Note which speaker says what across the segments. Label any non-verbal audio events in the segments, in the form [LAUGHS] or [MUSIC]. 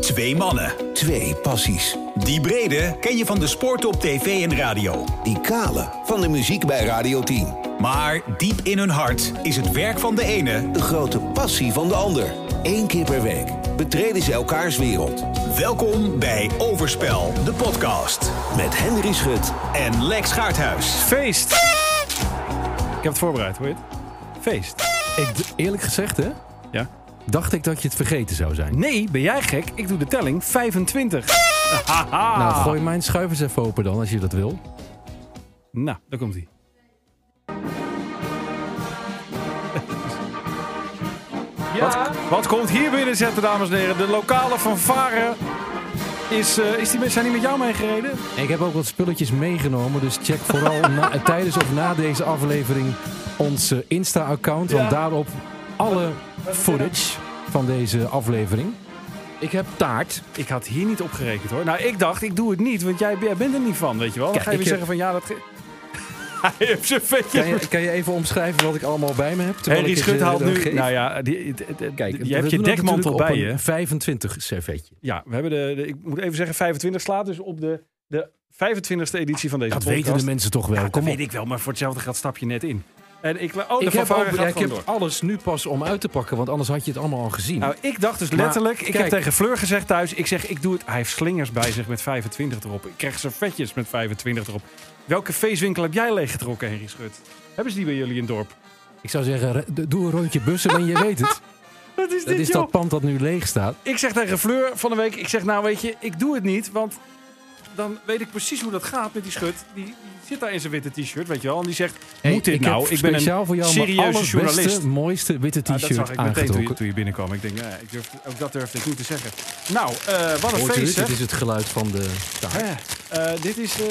Speaker 1: Twee mannen.
Speaker 2: Twee passies.
Speaker 1: Die brede ken je van de sport op tv en radio.
Speaker 2: Die kale van de muziek bij Radio 10.
Speaker 1: Maar diep in hun hart is het werk van de ene...
Speaker 2: De grote passie van de ander. Eén keer per week betreden ze elkaars wereld.
Speaker 1: Welkom bij Overspel, de podcast.
Speaker 2: Met Henry Schut.
Speaker 1: En Lex Gaarthuis.
Speaker 3: Feest! Ik heb het voorbereid, hoor je het? Feest.
Speaker 4: Ik, d- eerlijk gezegd, hè,
Speaker 3: Ja.
Speaker 4: dacht ik dat je het vergeten zou zijn.
Speaker 3: Nee, ben jij gek? Ik doe de telling 25.
Speaker 4: Nou, gooi mijn schuivers even open dan, als je dat wil.
Speaker 3: Nou, daar komt hij. Wat, wat komt hier binnen zetten, dames en heren? De lokale fanfare. Is, eh, is die, met- zijn die met jou meegereden?
Speaker 4: Ik heb ook wat spulletjes meegenomen, dus check vooral [LAUGHS] na- tijdens of na deze aflevering ons eh, Insta-account.
Speaker 3: Ja.
Speaker 4: Want daarop alle footage van deze aflevering. Ik heb taart.
Speaker 3: Ik had hier niet op gerekend hoor. Nou, ik dacht, ik doe het niet, want jij, jij bent er niet van, weet je wel. Dan
Speaker 4: Kijk,
Speaker 3: ga je weer
Speaker 4: ik
Speaker 3: zeggen
Speaker 4: heb-
Speaker 3: van ja, dat. ge- [LAUGHS] Hij heeft zijn vetje.
Speaker 4: Kan je, kan je even omschrijven wat ik allemaal bij me heb? terwijl
Speaker 3: Henry
Speaker 4: ik het,
Speaker 3: Schut
Speaker 4: eh,
Speaker 3: haalt nu.
Speaker 4: doorgeef?
Speaker 3: Nou ja, die, die- die-
Speaker 4: Kijk,
Speaker 3: je hebt
Speaker 4: we
Speaker 3: je
Speaker 4: doen dat
Speaker 3: dekmantel
Speaker 4: natuurlijk
Speaker 3: bij
Speaker 4: op
Speaker 3: je.
Speaker 4: een 25 servetje.
Speaker 3: Ja, we hebben de, de- ik moet even zeggen, 25 slaat dus op de, de 25e editie van deze
Speaker 4: Dat
Speaker 3: podcast.
Speaker 4: weten de mensen toch wel.
Speaker 3: Ja, dat
Speaker 4: Kom op.
Speaker 3: weet ik wel, maar voor hetzelfde geld stap je net in. En ik, oh, de
Speaker 4: ik heb,
Speaker 3: fanfare
Speaker 4: ook,
Speaker 3: gaat
Speaker 4: ja, ik
Speaker 3: gewoon
Speaker 4: heb
Speaker 3: door.
Speaker 4: alles nu pas om uit te pakken, want anders had je het allemaal al gezien.
Speaker 3: Nou, ik dacht dus
Speaker 4: Maar
Speaker 3: letterlijk, ik heb
Speaker 4: kijk.
Speaker 3: tegen Fleur gezegd thuis, ik zeg, ik doe het. Hij heeft slingers bij zich met 25 erop. Ik krijg servetjes met 25 erop. Welke feestwinkel heb jij leeggetrokken, Henry Schut? Hebben ze die bij jullie in het dorp?
Speaker 4: Ik zou zeggen, re- d- doe een rondje bussen en je
Speaker 3: [LAUGHS]
Speaker 4: weet het.
Speaker 3: Wat is
Speaker 4: Dat
Speaker 3: dit,
Speaker 4: is
Speaker 3: joh?
Speaker 4: dat pand dat nu leeg staat.
Speaker 3: Ik zeg tegen Fleur van de week, ik zeg nou weet je, ik doe het niet, want dan weet ik precies hoe dat gaat met die schut. Die, die zit daar in zijn witte t-shirt, weet je wel, en die zegt,
Speaker 4: Hey,
Speaker 3: moet dit
Speaker 4: ik
Speaker 3: nou?
Speaker 4: Heb
Speaker 3: Ik ben een
Speaker 4: speciaal voor jou mijn
Speaker 3: serieuze
Speaker 4: allerbeste,
Speaker 3: journalist.
Speaker 4: mooiste witte
Speaker 3: Ah, dat zag ik
Speaker 4: t-shirt
Speaker 3: meteen toen je,
Speaker 4: aangetrokken.
Speaker 3: toen je binnenkwam. Ik denk, nou ja, ik durf, ook dat durfde ik niet te zeggen. Nou, eh, wat een
Speaker 4: Hoort u dit?
Speaker 3: feest, hè?
Speaker 4: Dit is het geluid van de taart.
Speaker 3: Hè? Eh, dit, is, eh,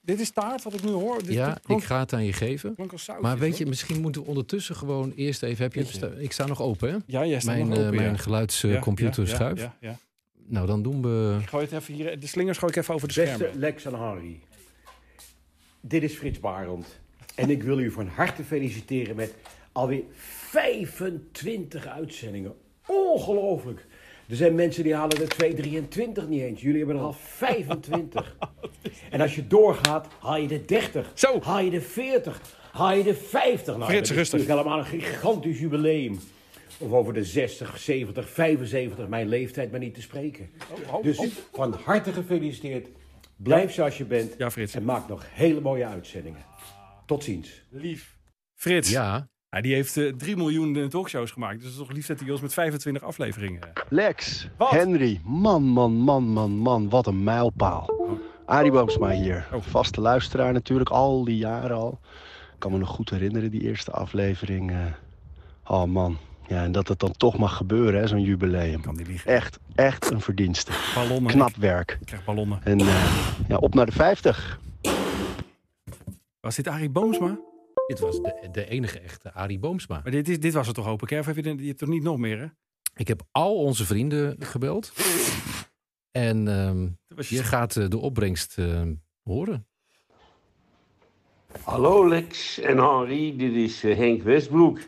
Speaker 3: dit is taart, wat ik nu hoor. Dit,
Speaker 4: Ja,
Speaker 3: dit Oh, klonk,
Speaker 4: ik ga het aan je geven.
Speaker 3: klonk als zoutjes,
Speaker 4: Maar weet je,
Speaker 3: hoor.
Speaker 4: misschien moeten we ondertussen gewoon eerst even... Heb je,
Speaker 3: Jeetje.
Speaker 4: ik sta nog open, hè?
Speaker 3: Ja, jij staat
Speaker 4: Mijn,
Speaker 3: nog
Speaker 4: eh,
Speaker 3: open, ja.
Speaker 4: mijn
Speaker 3: Ja,
Speaker 4: geluidscomputer
Speaker 3: ja, ja,
Speaker 4: schuift.
Speaker 3: ja, ja.
Speaker 4: Nou, dan doen we...
Speaker 3: Ik gooi het even hier, de slingers gooi ik even over de
Speaker 5: Beste
Speaker 3: schermen.
Speaker 5: Lex en Harry, dit is Frits Barend. En ik wil u van harte feliciteren met alweer 25 uitzendingen. Ongelooflijk! Er zijn mensen die halen er 223 niet eens. Jullie hebben er al
Speaker 3: [LAUGHS]
Speaker 5: 25. En als je doorgaat, haal je de 30.
Speaker 3: Zo.
Speaker 5: Haal je de 40. Haal je de 50. Nou,
Speaker 3: Frits,
Speaker 5: dat is
Speaker 3: rustig.
Speaker 5: natuurlijk helemaal een gigantisch jubileum. Of over de 60, 70, 75, mijn leeftijd maar niet te spreken.
Speaker 3: oh,
Speaker 5: dus
Speaker 3: oh.
Speaker 5: van harte gefeliciteerd. Blijf zoals je bent.
Speaker 3: Ja, Frits.
Speaker 5: En maak nog hele mooie uitzendingen. Tot ziens.
Speaker 3: Lief. Frits.
Speaker 4: Ja,
Speaker 3: Ja, die heeft eh 3 miljoen eh, talkshows gemaakt. Dus het is toch lief dat hij ons met 25 afleveringen... eh,
Speaker 6: Lex,
Speaker 3: Wat?
Speaker 6: Henry, man, man, man, man, man, wat een mijlpaal. Arie Boomsma hier,
Speaker 3: Oh.
Speaker 6: vaste luisteraar natuurlijk, al die jaren al. Ik kan me nog goed herinneren, die eerste aflevering. eh. Oh man, ja, en dat het dan toch mag gebeuren, hè, zo'n jubileum.
Speaker 3: kan die liegen.
Speaker 6: Echt, echt een verdienste.
Speaker 3: Ballonnen.
Speaker 6: Knap werk.
Speaker 3: Ik krijg ballonnen.
Speaker 6: En eh, ja, op naar de 50.
Speaker 3: Was dit Arie Boomsma?
Speaker 4: dit was de, de enige echte Arie Boomsma.
Speaker 3: Maar dit, is, dit was het toch hoop ik, hè? Of heb je, dit- je hebt toch niet nog meer, hè?
Speaker 4: Ik heb al onze vrienden gebeld. En ehm,
Speaker 3: Dat was je-
Speaker 4: je gaat eh, de opbrengst eh, horen.
Speaker 7: Hallo Lex en Henri, dit is eh, Henk
Speaker 3: [LAUGHS]
Speaker 7: Westbroek.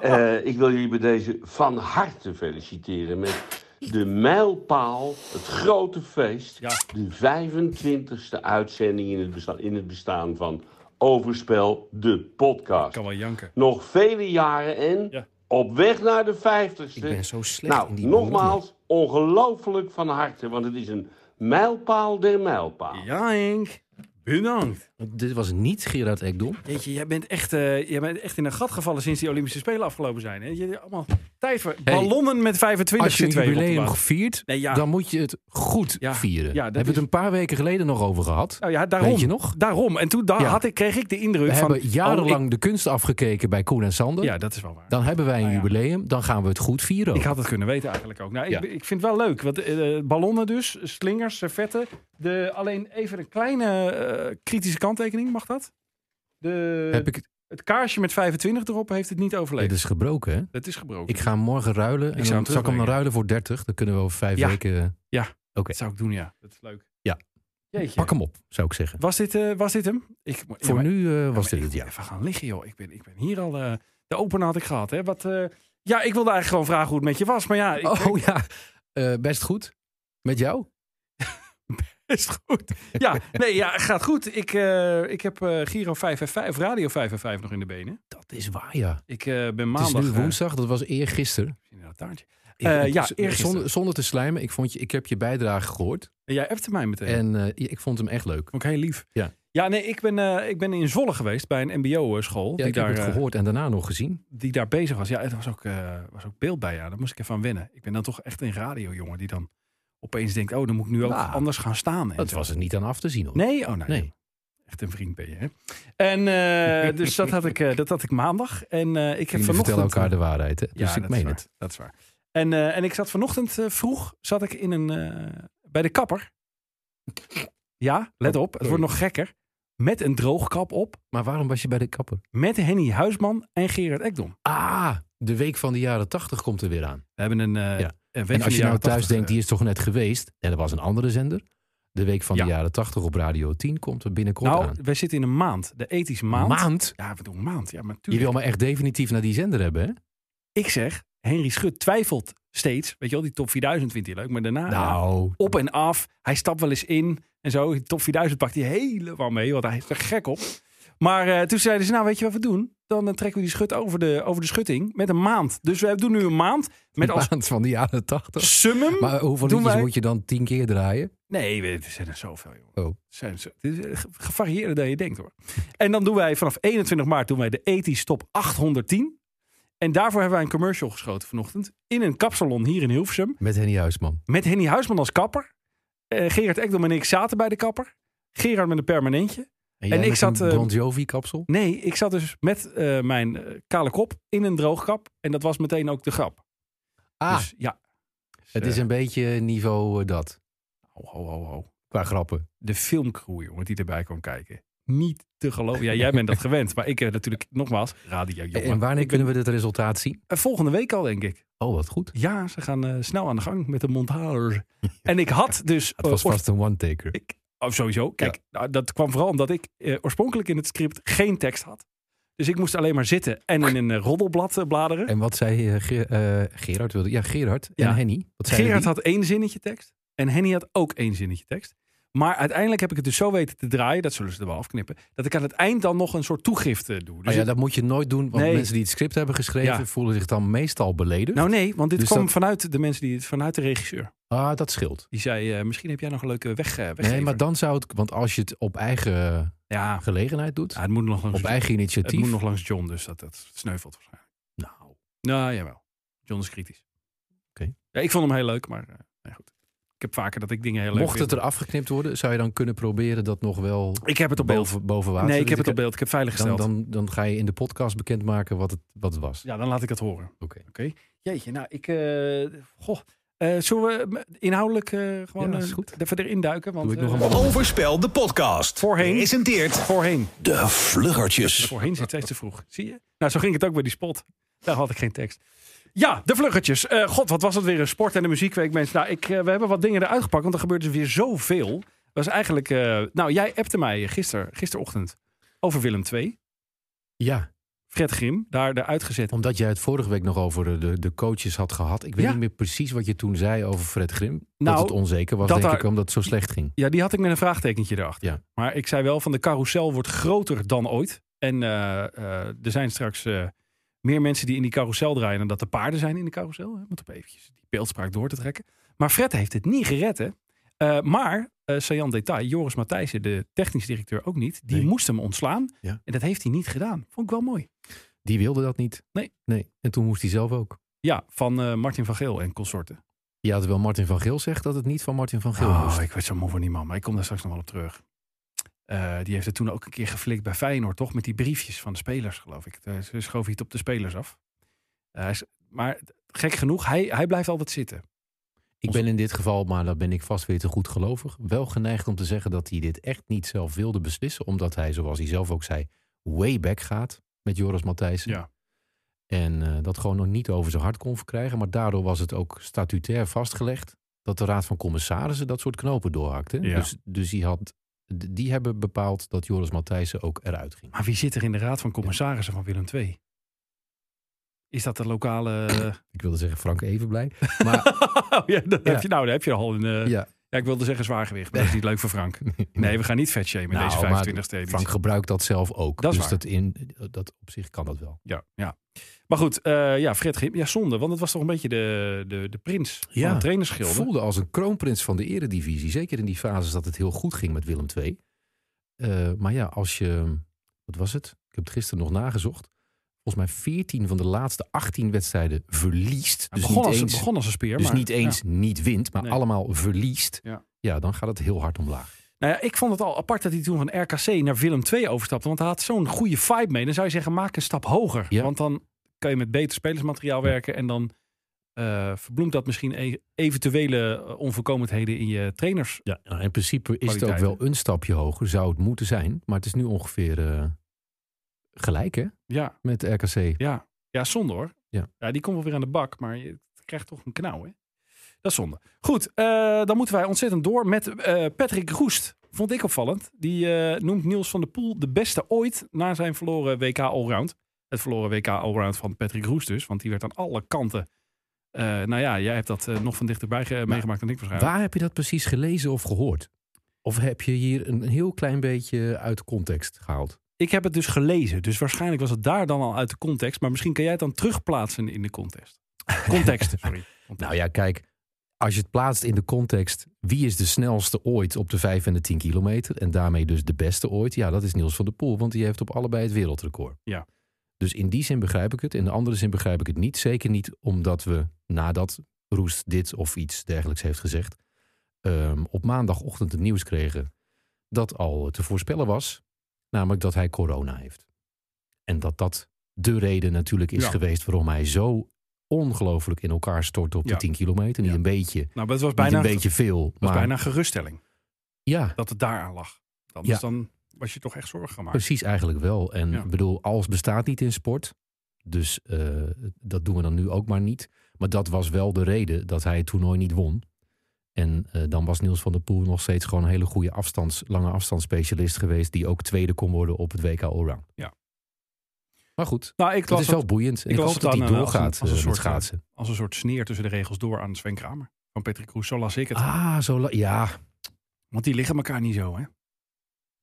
Speaker 7: Eh, ik wil jullie bij deze van harte feliciteren met de mijlpaal, het grote feest,
Speaker 3: Ja.
Speaker 7: de 25e uitzending in het, besta- in het bestaan van Overspel, de
Speaker 3: Ik
Speaker 7: podcast.
Speaker 3: kan wel janken.
Speaker 7: Nog vele jaren en
Speaker 3: Ja.
Speaker 7: op weg naar de 50ste.
Speaker 4: Ik ben zo slecht in
Speaker 7: nou,
Speaker 4: die
Speaker 7: nogmaals, ongelooflijk van harte, want het is een mijlpaal der mijlpaal.
Speaker 3: Ja, Henk. Bedankt.
Speaker 4: bewoordingen. Dit was niet Gerard Ekdom.
Speaker 3: Jeetje, jij bent, echt, eh, jij bent echt in een gat gevallen sinds die Olympische Spelen afgelopen zijn. Hè? Je, allemaal tijd voor ballonnen met 25
Speaker 4: Als je een
Speaker 3: zitten we even op te
Speaker 4: jubileum
Speaker 3: wachten.
Speaker 4: viert,
Speaker 3: Nee, ja.
Speaker 4: dan moet je het goed
Speaker 3: Ja, ja,
Speaker 4: vieren.
Speaker 3: dat
Speaker 4: hebben
Speaker 3: is-
Speaker 4: we het een paar weken geleden nog over gehad.
Speaker 3: Nou ja, daarom.
Speaker 4: Weet je nog?
Speaker 3: Daarom. En toen daar
Speaker 4: Ja.
Speaker 3: had ik, kreeg ik de indruk
Speaker 4: We
Speaker 3: van...
Speaker 4: hebben jarenlang
Speaker 3: oh,
Speaker 4: de kunst afgekeken bij Koen en
Speaker 3: ik-
Speaker 4: Sander.
Speaker 3: ja, dat is wel waar.
Speaker 4: Dan hebben wij een
Speaker 3: Ah, ja.
Speaker 4: jubileum, dan gaan we het goed vieren. ook.
Speaker 3: Ik had het kunnen weten eigenlijk ook. Nou, ik,
Speaker 4: Oh. Ja.
Speaker 3: ik vind het wel leuk. Want eh, ballonnen dus, slingers, servetten. De, alleen even een kleine eh, kritische kanttekening, mag dat? De,
Speaker 4: Heb ik het?
Speaker 3: Het kaarsje met 25 erop heeft het niet overleefd.
Speaker 4: Dit is gebroken, hè?
Speaker 3: Dat is gebroken.
Speaker 4: Ik ga hem morgen ruilen. En
Speaker 3: zou hem
Speaker 4: dan zal ik hem dan
Speaker 3: terugbrengen.
Speaker 4: ruilen voor 30. Dan kunnen we over vijf
Speaker 3: Ja.
Speaker 4: weken...
Speaker 3: Dat zou ik doen, ja. Dat is leuk.
Speaker 4: Ja.
Speaker 3: Jeetje.
Speaker 4: Pak hem op, zou ik zeggen.
Speaker 3: Was dit, eh, was dit hem? Ik,
Speaker 4: Voor nu eh, was dit
Speaker 3: ik
Speaker 4: het,
Speaker 3: moet
Speaker 4: ja.
Speaker 3: Even gaan liggen, joh. Ik ben, ik ben hier al... eh, de opener had ik gehad, hè. Wat, eh, ja, ik wilde eigenlijk gewoon vragen hoe het met je was. Maar ja, ik,
Speaker 4: Oh ja, Oh, Eh, best goed. Met jou?
Speaker 3: [LAUGHS] Is het goed? Ja, nee, ja, gaat goed. Ik, eh, ik heb eh, Giro 5 en 5, Radio 5 en 5 nog in de benen.
Speaker 4: Dat is waar, ja.
Speaker 3: Ik eh, ben
Speaker 4: Het is
Speaker 3: maandag...
Speaker 4: nu
Speaker 3: eh,
Speaker 4: woensdag, dat was eergisteren.
Speaker 3: in dat taartje.
Speaker 4: gisteren.
Speaker 3: ja, eergisteren.
Speaker 4: Zonder, zonder te slijmen, ik, vond je, ik heb je bijdrage gehoord.
Speaker 3: En jij appte mij meteen.
Speaker 4: En eh, ik vond hem echt leuk.
Speaker 3: Ook heel lief.
Speaker 4: Ja.
Speaker 3: Ja, nee, ik ben, eh, ik ben in Zwolle geweest bij een mbo-school.
Speaker 4: Ja,
Speaker 3: die,
Speaker 4: ik heb
Speaker 3: daar,
Speaker 4: het
Speaker 3: eh,
Speaker 4: gehoord en daarna nog gezien.
Speaker 3: die daar bezig was. Ja, het was ook, eh, was ook beeld bij. Ja, daar moest ik even aan wennen. Ik ben dan toch echt een radiojongen die dan opeens denkt... oh, dan moet ik nu ook
Speaker 4: Nou,
Speaker 3: anders gaan staan. en
Speaker 4: Dat
Speaker 3: zo.
Speaker 4: was er niet aan af te zien, hoor.
Speaker 3: Nee? Oh, nee.
Speaker 4: Nee.
Speaker 3: Echt een vriend ben je, hè? En eh, dus dat had, ik, eh, dat had ik maandag. En eh, ik heb
Speaker 4: Jullie
Speaker 3: vanochtend...
Speaker 4: vertellen elkaar de waarheid, hè?
Speaker 3: Ja,
Speaker 4: Dus ik
Speaker 3: dat
Speaker 4: meen
Speaker 3: is waar.
Speaker 4: het.
Speaker 3: Dat is waar. En, eh, en ik zat vanochtend eh, vroeg zat ik in een, eh, bij de kapper. Ja, let
Speaker 4: Oh,
Speaker 3: op. Het wordt nog gekker. Met een droogkap op.
Speaker 4: Maar waarom was je bij de kapper?
Speaker 3: Met Henny Huisman en Gerard Ekdom.
Speaker 4: Ah, de week van de jaren tachtig komt er weer aan.
Speaker 3: We hebben een... eh,
Speaker 4: Ja.
Speaker 3: een week
Speaker 4: En
Speaker 3: van
Speaker 4: als
Speaker 3: de
Speaker 4: je nou
Speaker 3: jaren eh,
Speaker 4: thuis
Speaker 3: 80,
Speaker 4: denkt, die is toch net geweest. En dat was een andere zender. De week van
Speaker 3: Ja.
Speaker 4: de jaren tachtig op Radio 10 komt er
Speaker 3: eh,
Speaker 4: binnenkort
Speaker 3: Nou,
Speaker 4: aan.
Speaker 3: wij zitten in een maand. De ethische maand.
Speaker 4: Maand?
Speaker 3: Ja, we doen een maand. Ja, maar
Speaker 4: Je
Speaker 3: tuurlijk.
Speaker 4: wil maar echt definitief naar die zender hebben, hè?
Speaker 3: Ik zeg, Henry Schut twijfelt steeds. Weet je wel, die top 4000 vindt hij leuk. Maar daarna...
Speaker 4: Nou,
Speaker 3: op en af. Hij stapt wel eens in en zo. In de Top 4000 pakt hij helemaal mee, want hij is er gek op. Maar eh, toen zeiden ze, nou weet je wat we doen? Dan eh, trekken we die schut over de, over de schutting met een maand. Dus we doen nu een maand met als
Speaker 4: maand van de jaren tachtig.
Speaker 3: summum.
Speaker 4: [LAUGHS] Maar hoeveel
Speaker 3: Doen
Speaker 4: liedjes
Speaker 3: wij-
Speaker 4: moet je dan tien keer draaien?
Speaker 3: Nee, we- er zijn er zoveel, joh.
Speaker 4: Oh.
Speaker 3: Er Zijn zo, het is eh, ge- gevarieerder dan je denkt, hoor. En dan doen wij vanaf 21 maart doen wij de ethisch top 810. En daarvoor hebben wij een commercial geschoten vanochtend. In een kapsalon hier in Hilversum.
Speaker 4: Met Henny Huisman.
Speaker 3: Met Henny Huisman als kapper. Eh, Gerard Ekdom en ik zaten bij de kapper. Gerard met een permanentje.
Speaker 4: En, jij
Speaker 3: ik
Speaker 4: met
Speaker 3: zat,
Speaker 4: Een
Speaker 3: eh,
Speaker 4: Bon Jovi-kapsel?
Speaker 3: Nee, ik zat dus met eh, mijn eh, kale kop in een droogkap. En dat was meteen ook de grap.
Speaker 4: Ah,
Speaker 3: Dus ja. Dus,
Speaker 4: het is
Speaker 3: eh,
Speaker 4: een beetje niveau eh, dat.
Speaker 3: ho, ho, ho, ho.
Speaker 4: Qua grappen.
Speaker 3: De filmcrew, jongen, die erbij kwam kijken. Niet te geloven. Ja, jij bent
Speaker 4: [LAUGHS]
Speaker 3: dat gewend. Maar ik eh, natuurlijk, nogmaals, radio, jongen.
Speaker 4: en wanneer
Speaker 3: Ik ben-
Speaker 4: kunnen we dit resultaat zien?
Speaker 3: Eh, Volgende week al, denk ik.
Speaker 4: Oh, wat goed.
Speaker 3: Ja, ze gaan eh, snel aan de gang met de montage. En ik had dus...
Speaker 4: [LAUGHS] Het was
Speaker 3: eh,
Speaker 4: vast een one-taker.
Speaker 3: Ik, oh, sowieso. Kijk, nou, dat kwam vooral omdat ik eh, oorspronkelijk in het script geen tekst had. Dus ik moest alleen maar zitten en in een eh, roddelblad eh, bladeren.
Speaker 4: En wat zei eh, Ge- eh, Gerard? Wilde, ja, Gerard
Speaker 3: Ja.
Speaker 4: en Henny. Wat zeiden
Speaker 3: Gerard
Speaker 4: die? Oh
Speaker 3: had één zinnetje tekst en Henny had ook één zinnetje tekst. Maar uiteindelijk heb ik het dus zo weten te draaien, dat zullen ze er wel afknippen, dat ik aan het eind dan nog een soort toegifte doe. Dus
Speaker 4: Oh ja,
Speaker 3: het-
Speaker 4: dat moet je nooit doen, want
Speaker 3: Nee.
Speaker 4: mensen die het script hebben geschreven
Speaker 3: Ja.
Speaker 4: voelen zich dan meestal beledigd.
Speaker 3: nou nee, want dit
Speaker 4: Dus
Speaker 3: kwam
Speaker 4: dat-
Speaker 3: vanuit de mensen die het vanuit de regisseur.
Speaker 4: ah, dat scheelt.
Speaker 3: Die zei, eh, misschien heb jij nog een leuke weg. eh,
Speaker 4: Nee,
Speaker 3: weggever.
Speaker 4: maar dan zou het, want als je het op eigen
Speaker 3: ja,
Speaker 4: gelegenheid doet,
Speaker 3: ja, het moet nog langs.
Speaker 4: op eigen
Speaker 3: Dus het
Speaker 4: initiatief,
Speaker 3: moet nog langs John, dus dat, dat sneuvelt waarschijnlijk.
Speaker 4: nou,
Speaker 3: Nou, jawel. John is kritisch.
Speaker 4: Oké.
Speaker 3: Ja, ik vond hem heel leuk, maar eh, nee, goed. Ik heb vaker dat ik dingen heel leuk
Speaker 4: mocht het
Speaker 3: vind.
Speaker 4: er afgeknipt worden, zou je dan kunnen proberen dat nog wel
Speaker 3: Ik heb het op beeld.
Speaker 4: boven, boven water?
Speaker 3: Nee, ik
Speaker 4: Dus
Speaker 3: heb het op beeld. Ik heb veilig
Speaker 4: Dan,
Speaker 3: gesteld.
Speaker 4: dan, dan ga je in de podcast bekendmaken wat het, wat het was.
Speaker 3: Ja, dan laat ik het horen.
Speaker 4: Oké.
Speaker 3: Jeetje, nou, ik... eh, goh, eh, zullen we m- inhoudelijk eh, gewoon
Speaker 4: Ja, is
Speaker 3: eh,
Speaker 4: goed.
Speaker 3: even erin duiken? Want,
Speaker 4: Doe ik nog
Speaker 3: eh,
Speaker 4: een ballon.
Speaker 1: Overspel de podcast.
Speaker 3: Voorheen.
Speaker 1: Presenteert
Speaker 3: Voorheen.
Speaker 2: De Vluggertjes.
Speaker 3: Voorheen zit steeds te vroeg. Zie je? Nou, zo ging het ook bij die spot. Daar had ik geen tekst. Ja, de vluggetjes. Eh, God, wat was het weer een sport- en een muziekweek, mensen. Nou, ik, eh, we hebben wat dingen eruit gepakt, want er gebeurt dus weer zoveel. was eigenlijk... eh, nou, jij appte mij gister, gisterochtend over Willem II.
Speaker 4: Ja,
Speaker 3: Fred Grim, daar de uitgezet.
Speaker 4: omdat jij het vorige week nog over de, de coaches had gehad. Ik weet
Speaker 3: Ja.
Speaker 4: niet meer precies wat je toen zei over Fred Grim.
Speaker 3: Nou,
Speaker 4: dat het onzeker was,
Speaker 3: dat
Speaker 4: denk
Speaker 3: daar-
Speaker 4: ik, omdat het zo slecht ging.
Speaker 3: Ja, die had ik met een vraagtekentje erachter.
Speaker 4: Ja.
Speaker 3: Maar ik zei wel van de carousel wordt groter dan ooit. En eh, eh, er zijn straks eh, meer mensen die in die carousel draaien... dan dat er paarden zijn in de carousel. Hè? Moet op eventjes die beeldspraak door te trekken. Maar Fred heeft het niet gered, hè. Eh, maar, eh saillant detail, Joris Matthijssen, de technisch directeur ook niet... die
Speaker 4: Nee.
Speaker 3: moest hem ontslaan.
Speaker 4: Ja.
Speaker 3: En dat heeft hij niet gedaan. Vond ik wel mooi.
Speaker 4: Die wilde dat niet.
Speaker 3: Nee.
Speaker 4: nee. En toen moest hij zelf ook.
Speaker 3: Ja, van eh, Martin van Geel en consorten.
Speaker 4: Ja, terwijl Martin van Geel zegt dat het niet van Martin van Geel
Speaker 3: Oh,
Speaker 4: moest.
Speaker 3: ik werd zo moe van die man, maar ik kom daar straks nog wel op terug. Eh, die heeft het toen ook een keer geflikt bij Feyenoord, toch? Met die briefjes van de spelers, geloof ik. Daar Ze schoof hij het op de spelers af. Eh, hij is- maar gek genoeg, hij, hij blijft altijd zitten.
Speaker 4: Ik ben in dit geval, maar daar ben ik vast weer te goed gelovig, wel geneigd om te zeggen dat hij dit echt niet zelf wilde beslissen. Omdat hij, zoals hij zelf ook zei, way back gaat met Joris Matthijssen.
Speaker 3: Ja.
Speaker 4: En eh, dat gewoon nog niet over zijn hart kon verkrijgen. Maar daardoor was het ook statutair vastgelegd dat de Raad van Commissarissen dat soort knopen doorhakte.
Speaker 3: Ja.
Speaker 4: Dus, dus die, had, die hebben bepaald dat Joris Matthijssen ook eruit ging.
Speaker 3: Maar wie zit er in de raad van commissarissen van Willem II? Is dat de lokale...
Speaker 4: Ik wilde zeggen Frank even
Speaker 3: [LAUGHS]
Speaker 4: blij. Maar
Speaker 3: [COUGHS] oh, ja, dat
Speaker 4: Ja.
Speaker 3: heb je nou, daar heb je al een... eh, ja.
Speaker 4: ja,
Speaker 3: ik wilde zeggen zwaargewicht, maar dat is niet leuk voor Frank. Nee, we gaan niet vetshamen in
Speaker 4: Nou,
Speaker 3: deze
Speaker 4: maar
Speaker 3: 25 e
Speaker 4: Frank gebruikt dat zelf ook.
Speaker 3: Dat is
Speaker 4: dus
Speaker 3: waar.
Speaker 4: dat in dat op zich kan dat wel.
Speaker 3: Ja, ja. Maar goed, eh, ja, Fred Grim. Ja, zonde, want het was toch een beetje de, de, de prins
Speaker 4: Ja.
Speaker 3: van het trainerschilde.
Speaker 4: Voelde als een kroonprins van de eredivisie. Zeker in die fases dat het heel goed ging met Willem II. Eh, maar ja, als je... Wat was het? Ik heb het gisteren nog nagezocht. Volgens mij 14 van de laatste 18 wedstrijden verliest.
Speaker 3: Hij
Speaker 4: Dus
Speaker 3: begon,
Speaker 4: niet
Speaker 3: als,
Speaker 4: eens,
Speaker 3: begon als een speer.
Speaker 4: dus
Speaker 3: maar,
Speaker 4: niet eens
Speaker 3: ja.
Speaker 4: niet wint, maar
Speaker 3: Nee.
Speaker 4: allemaal verliest.
Speaker 3: Ja.
Speaker 4: dan gaat het heel hard omlaag.
Speaker 3: Nou ja, ik vond het al apart dat hij toen van RKC naar Willem II overstapte. Want hij had zo'n goede vibe mee. Dan zou je zeggen, maak een stap hoger.
Speaker 4: Ja.
Speaker 3: Want dan kan je met beter spelersmateriaal werken. En dan eh, verbloemt dat misschien e- eventuele eh, onvolkomenheden in je trainers.
Speaker 4: Ja, nou, in principe is het ook
Speaker 3: Kwaliteiten.
Speaker 4: wel een stapje hoger. Zou het moeten zijn. Maar het is nu ongeveer eh, gelijk hè,
Speaker 3: Ja,
Speaker 4: met RKC.
Speaker 3: ja. ja zonde hoor.
Speaker 4: Ja.
Speaker 3: die komt wel weer aan de bak. Maar je krijgt toch een knauw hè. Dat is zonde. Goed, eh, dan moeten wij ontzettend door met eh, Patrick Roest. Vond ik opvallend. Die eh, noemt Niels van der Poel de beste ooit na zijn verloren WK Allround. Het verloren WK Allround van Patrick Roest dus. Want die werd aan alle kanten... eh, nou ja, jij hebt dat eh, nog van dichterbij ge- meegemaakt dan ik waarschijnlijk.
Speaker 4: Waar heb je dat precies gelezen of gehoord? Of heb je hier een heel klein beetje uit context gehaald?
Speaker 3: Ik heb het dus gelezen. Dus waarschijnlijk was het daar dan al uit de context. Maar misschien kan jij het dan terugplaatsen in de [LAUGHS] context. Context, sorry.
Speaker 4: Nou ja, kijk, als je het plaatst in de context... wie is de snelste ooit op de 5 en de 10 kilometer... en daarmee dus de beste ooit, ja, dat is Niels van der Poel... want die heeft op allebei het wereldrecord.
Speaker 3: Ja.
Speaker 4: Dus in die zin begrijp ik het. In de andere zin begrijp ik het niet. Zeker niet omdat we nadat Roest dit of iets dergelijks heeft gezegd... ehm, op maandagochtend het nieuws kregen dat al te voorspellen was... namelijk dat hij corona heeft. En dat dat de reden natuurlijk is
Speaker 3: Ja.
Speaker 4: geweest... waarom hij zo ongelooflijk in elkaar stort op
Speaker 3: Ja.
Speaker 4: de 10 kilometer. Niet
Speaker 3: Ja.
Speaker 4: een beetje,
Speaker 3: Nou, maar het was
Speaker 4: niet
Speaker 3: bijna,
Speaker 4: een beetje veel.
Speaker 3: was
Speaker 4: Maar
Speaker 3: bijna geruststelling.
Speaker 4: ja,
Speaker 3: Dat het daar aan lag. Anders
Speaker 4: Ja.
Speaker 3: dan was je toch echt zorgen gemaakt.
Speaker 4: precies eigenlijk wel. En
Speaker 3: Ja.
Speaker 4: ik bedoel, alles bestaat niet in sport. Dus eh, dat doen we dan nu ook maar niet. Maar dat was wel de reden dat hij het toernooi niet won. En eh, dan was Niels van der Poel nog steeds gewoon een hele goede afstands, lange afstandsspecialist geweest. Die ook tweede kon worden op het WK Allround.
Speaker 3: Ja.
Speaker 4: Maar goed,
Speaker 3: Nou, ik
Speaker 4: het
Speaker 3: las
Speaker 4: is
Speaker 3: het
Speaker 4: wel boeiend. En Ik,
Speaker 3: las
Speaker 4: hoop
Speaker 3: het
Speaker 4: dat
Speaker 3: aan
Speaker 4: hij
Speaker 3: een- als
Speaker 4: doorgaat
Speaker 3: een- als een
Speaker 4: eh, met
Speaker 3: soort, eh,
Speaker 4: schaatsen.
Speaker 3: als een soort sneer tussen de regels door aan Sven Kramer. Van Patrick Roes, zo las ik het.
Speaker 4: Ah, zo la- ja,
Speaker 3: Want die liggen elkaar niet zo, hè?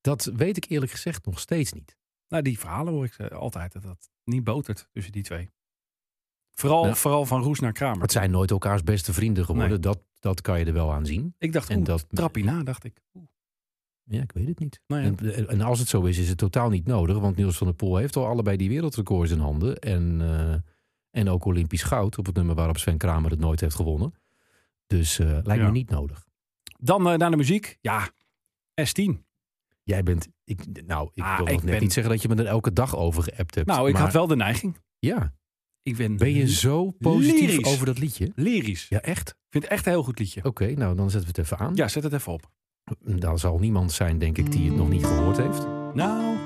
Speaker 4: dat weet ik eerlijk gezegd nog steeds niet.
Speaker 3: Nou, die verhalen hoor ik eh, altijd. Dat dat niet botert tussen die twee. Vooral,
Speaker 4: Ja.
Speaker 3: vooral van Roes naar
Speaker 4: Maar
Speaker 3: Kramer.
Speaker 4: het zijn nooit elkaars beste vrienden geworden.
Speaker 3: Nee.
Speaker 4: Dat, dat kan je er wel aan zien.
Speaker 3: Ik dacht,
Speaker 4: En
Speaker 3: oeh,
Speaker 4: dat-
Speaker 3: trappie na, dacht ik. Oeh.
Speaker 4: Ja, ik weet het niet.
Speaker 3: Nou ja.
Speaker 4: en, en als het zo is, is het totaal niet nodig. Want Niels van der Poel heeft al allebei die wereldrecords in handen. En, eh, en ook Olympisch goud op het nummer waarop Sven Kramer het nooit heeft gewonnen. Dus eh, lijkt
Speaker 3: Ja.
Speaker 4: me niet nodig.
Speaker 3: Dan eh, naar de muziek. Ja, S10.
Speaker 4: Jij bent... Ik, nou, ik
Speaker 3: Ah,
Speaker 4: wil nog
Speaker 3: ik
Speaker 4: net
Speaker 3: ben-
Speaker 4: niet zeggen dat je me er elke dag over geappt hebt.
Speaker 3: Nou, ik
Speaker 4: maar
Speaker 3: had wel de neiging.
Speaker 4: Ja,
Speaker 3: Ik ben,
Speaker 4: ben je zo positief
Speaker 3: Lyrisch.
Speaker 4: over dat liedje?
Speaker 3: lyrisch.
Speaker 4: Ja, echt?
Speaker 3: Ik vind het echt een heel goed liedje.
Speaker 4: Oké, nou dan zetten we het even aan.
Speaker 3: Ja, zet het even op.
Speaker 4: Daar zal niemand zijn, denk ik, die het nog niet gehoord heeft.
Speaker 3: Nou,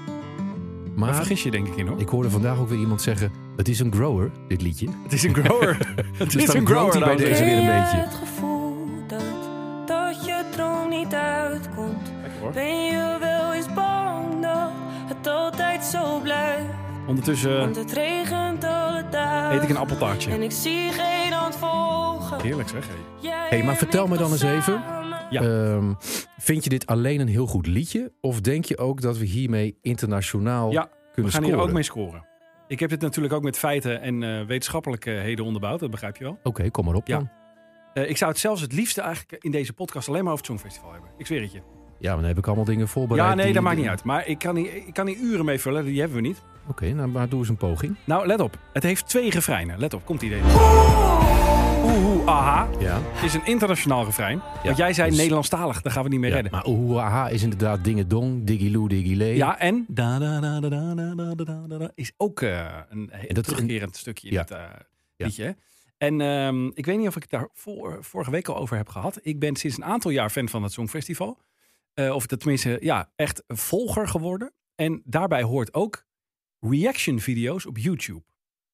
Speaker 3: daar
Speaker 4: Maar
Speaker 3: vergis je denk ik in hoor.
Speaker 4: Ik hoorde vandaag ook weer iemand zeggen: Het is een grower, dit liedje.
Speaker 3: Het is een
Speaker 4: [LAUGHS]
Speaker 3: grower. het
Speaker 4: Dus
Speaker 3: [LAUGHS] is
Speaker 4: dan
Speaker 3: een
Speaker 4: groeit
Speaker 3: grower.
Speaker 4: hij bij
Speaker 3: dames en
Speaker 4: deze
Speaker 3: heren.
Speaker 4: weer een
Speaker 8: Ken je
Speaker 4: beetje.
Speaker 8: Het gevoel dat, dat je droom niet uitkomt.
Speaker 3: Lekker, hoor.
Speaker 8: Ben je wel eens bang dat het altijd zo blijft?
Speaker 3: Ondertussen
Speaker 8: Want het regent alle
Speaker 3: eh,
Speaker 8: dagen.
Speaker 3: eet ik een appeltaartje.
Speaker 8: En ik zie geen handvolgen.
Speaker 3: Heerlijk zeg. hé.
Speaker 8: Hé,
Speaker 4: maar vertel me dan eens even.
Speaker 3: Ja.
Speaker 4: Ehm, vind je dit alleen een heel goed liedje? Of denk je ook dat we hiermee internationaal
Speaker 3: Ja, We
Speaker 4: kunnen
Speaker 3: gaan
Speaker 4: scoren?
Speaker 3: hier ook mee scoren. Ik heb dit natuurlijk ook met feiten en eh, wetenschappelijkheden onderbouwd. Dat begrijp je wel.
Speaker 4: Oké, kom maar op
Speaker 3: Ja.
Speaker 4: dan. Ja.
Speaker 3: Eh, ik zou het zelfs het liefste eigenlijk in deze podcast alleen maar over het Songfestival hebben. Ik zweer het je.
Speaker 4: maar dan heb ik allemaal dingen voorbereid.
Speaker 3: ja, nee,
Speaker 4: die-
Speaker 3: dat maakt niet uit. Maar ik kan hier, ik kan hier uren mee vullen. Die hebben we niet.
Speaker 4: Oké, nou, maar doe eens een poging.
Speaker 3: Nou, let op. Het heeft twee refreinen. Let op, komt idee. Oeh, oeh, aha.
Speaker 4: Ja.
Speaker 3: Is een internationaal refrein. Want jij zei
Speaker 4: dus-
Speaker 3: Nederlandstalig, daar gaan we niet mee
Speaker 4: ja.
Speaker 3: redden.
Speaker 4: Maar oeh, aha is inderdaad dingedong, digiloo, digilee.
Speaker 3: Ja, en da, da, da, da, da, da, da, da, da, da, is ook eh, een he-
Speaker 4: En dat-
Speaker 3: terugkerend stukje in
Speaker 4: Ja.
Speaker 3: het eh, liedje. hè. En ehm, ik weet niet of ik het daar voor, vorige week al over heb gehad. Ik ben sinds een aantal jaar fan van het Songfestival. Eh, of dat tenminste, ja, echt een volger geworden. En daarbij hoort ook reaction video's op YouTube.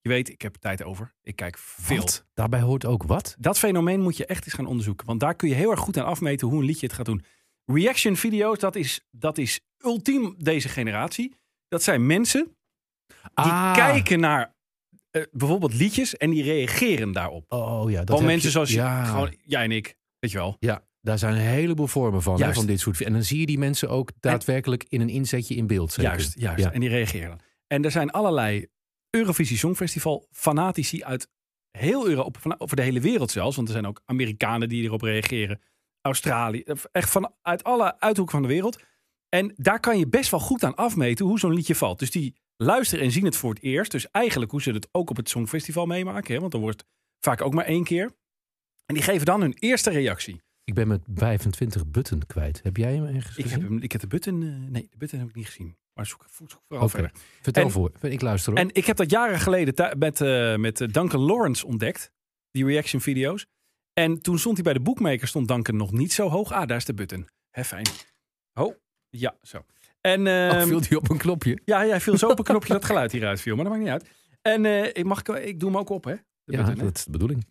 Speaker 3: Je weet, ik heb tijd over. Ik kijk veel.
Speaker 4: Wat? Daarbij hoort ook wat?
Speaker 3: Dat fenomeen moet je echt eens gaan onderzoeken. Want daar kun je heel erg goed aan afmeten hoe een liedje het gaat doen. Reaction video's, dat is, dat is ultiem deze generatie. Dat zijn mensen die
Speaker 4: Ah,
Speaker 3: kijken naar eh, bijvoorbeeld liedjes en die reageren daarop.
Speaker 4: Oh ja, dat
Speaker 3: Van
Speaker 4: heb
Speaker 3: mensen
Speaker 4: je-
Speaker 3: zoals je-
Speaker 4: ja,
Speaker 3: gewoon, jij en ik, weet je wel.
Speaker 4: Ja, daar zijn een heleboel vormen van, hè,
Speaker 3: Juist.
Speaker 4: van dit soort. En dan zie je die mensen ook daadwerkelijk in een inzetje in beeld. zeker.
Speaker 3: Juist, juist.
Speaker 4: Ja.
Speaker 3: En die reageren dan. En er zijn allerlei Eurovisie Songfestival fanatici uit heel Europa, van- over de hele wereld zelfs. Want er zijn ook Amerikanen die erop reageren. Australië, eh, echt vanuit alle uithoeken van de wereld. En daar kan je best wel goed aan afmeten hoe zo'n liedje valt. Dus die luisteren en zien het voor het eerst. Dus eigenlijk hoe ze het ook op het Songfestival meemaken. Hè? Want dan wordt het vaak ook maar één keer. En die geven dan hun eerste reactie.
Speaker 4: Ik ben met 25 button kwijt. Heb jij hem ergens
Speaker 3: Ik heb,
Speaker 4: gezien?
Speaker 3: hem, ik heb de button... eh, nee, de button heb ik niet gezien. Maar zoek, zoek vooral
Speaker 4: Oké.
Speaker 3: verder.
Speaker 4: Vertel
Speaker 3: En-
Speaker 4: voor. Ik luister op.
Speaker 3: En ik heb dat jaren geleden thu- met, eh, met eh, Duncan Lawrence ontdekt. Die reaction video's. En toen stond hij bij de boekmaker, stond Duncan nog niet zo hoog. Ah, daar is de button. Hè, fijn. Oh, ja, zo. En,
Speaker 4: Oh,
Speaker 3: ehm,
Speaker 4: viel die op een
Speaker 3: [LAUGHS]
Speaker 4: knopje?
Speaker 3: ja, ja, viel zo op een knopje
Speaker 4: [LAUGHS]
Speaker 3: dat geluid hieruit viel. Maar dat maakt niet uit. En eh, ik, mag, ik- ik doe hem ook op, hè? De
Speaker 4: Ja,
Speaker 3: button, hè?
Speaker 4: dat is de bedoeling.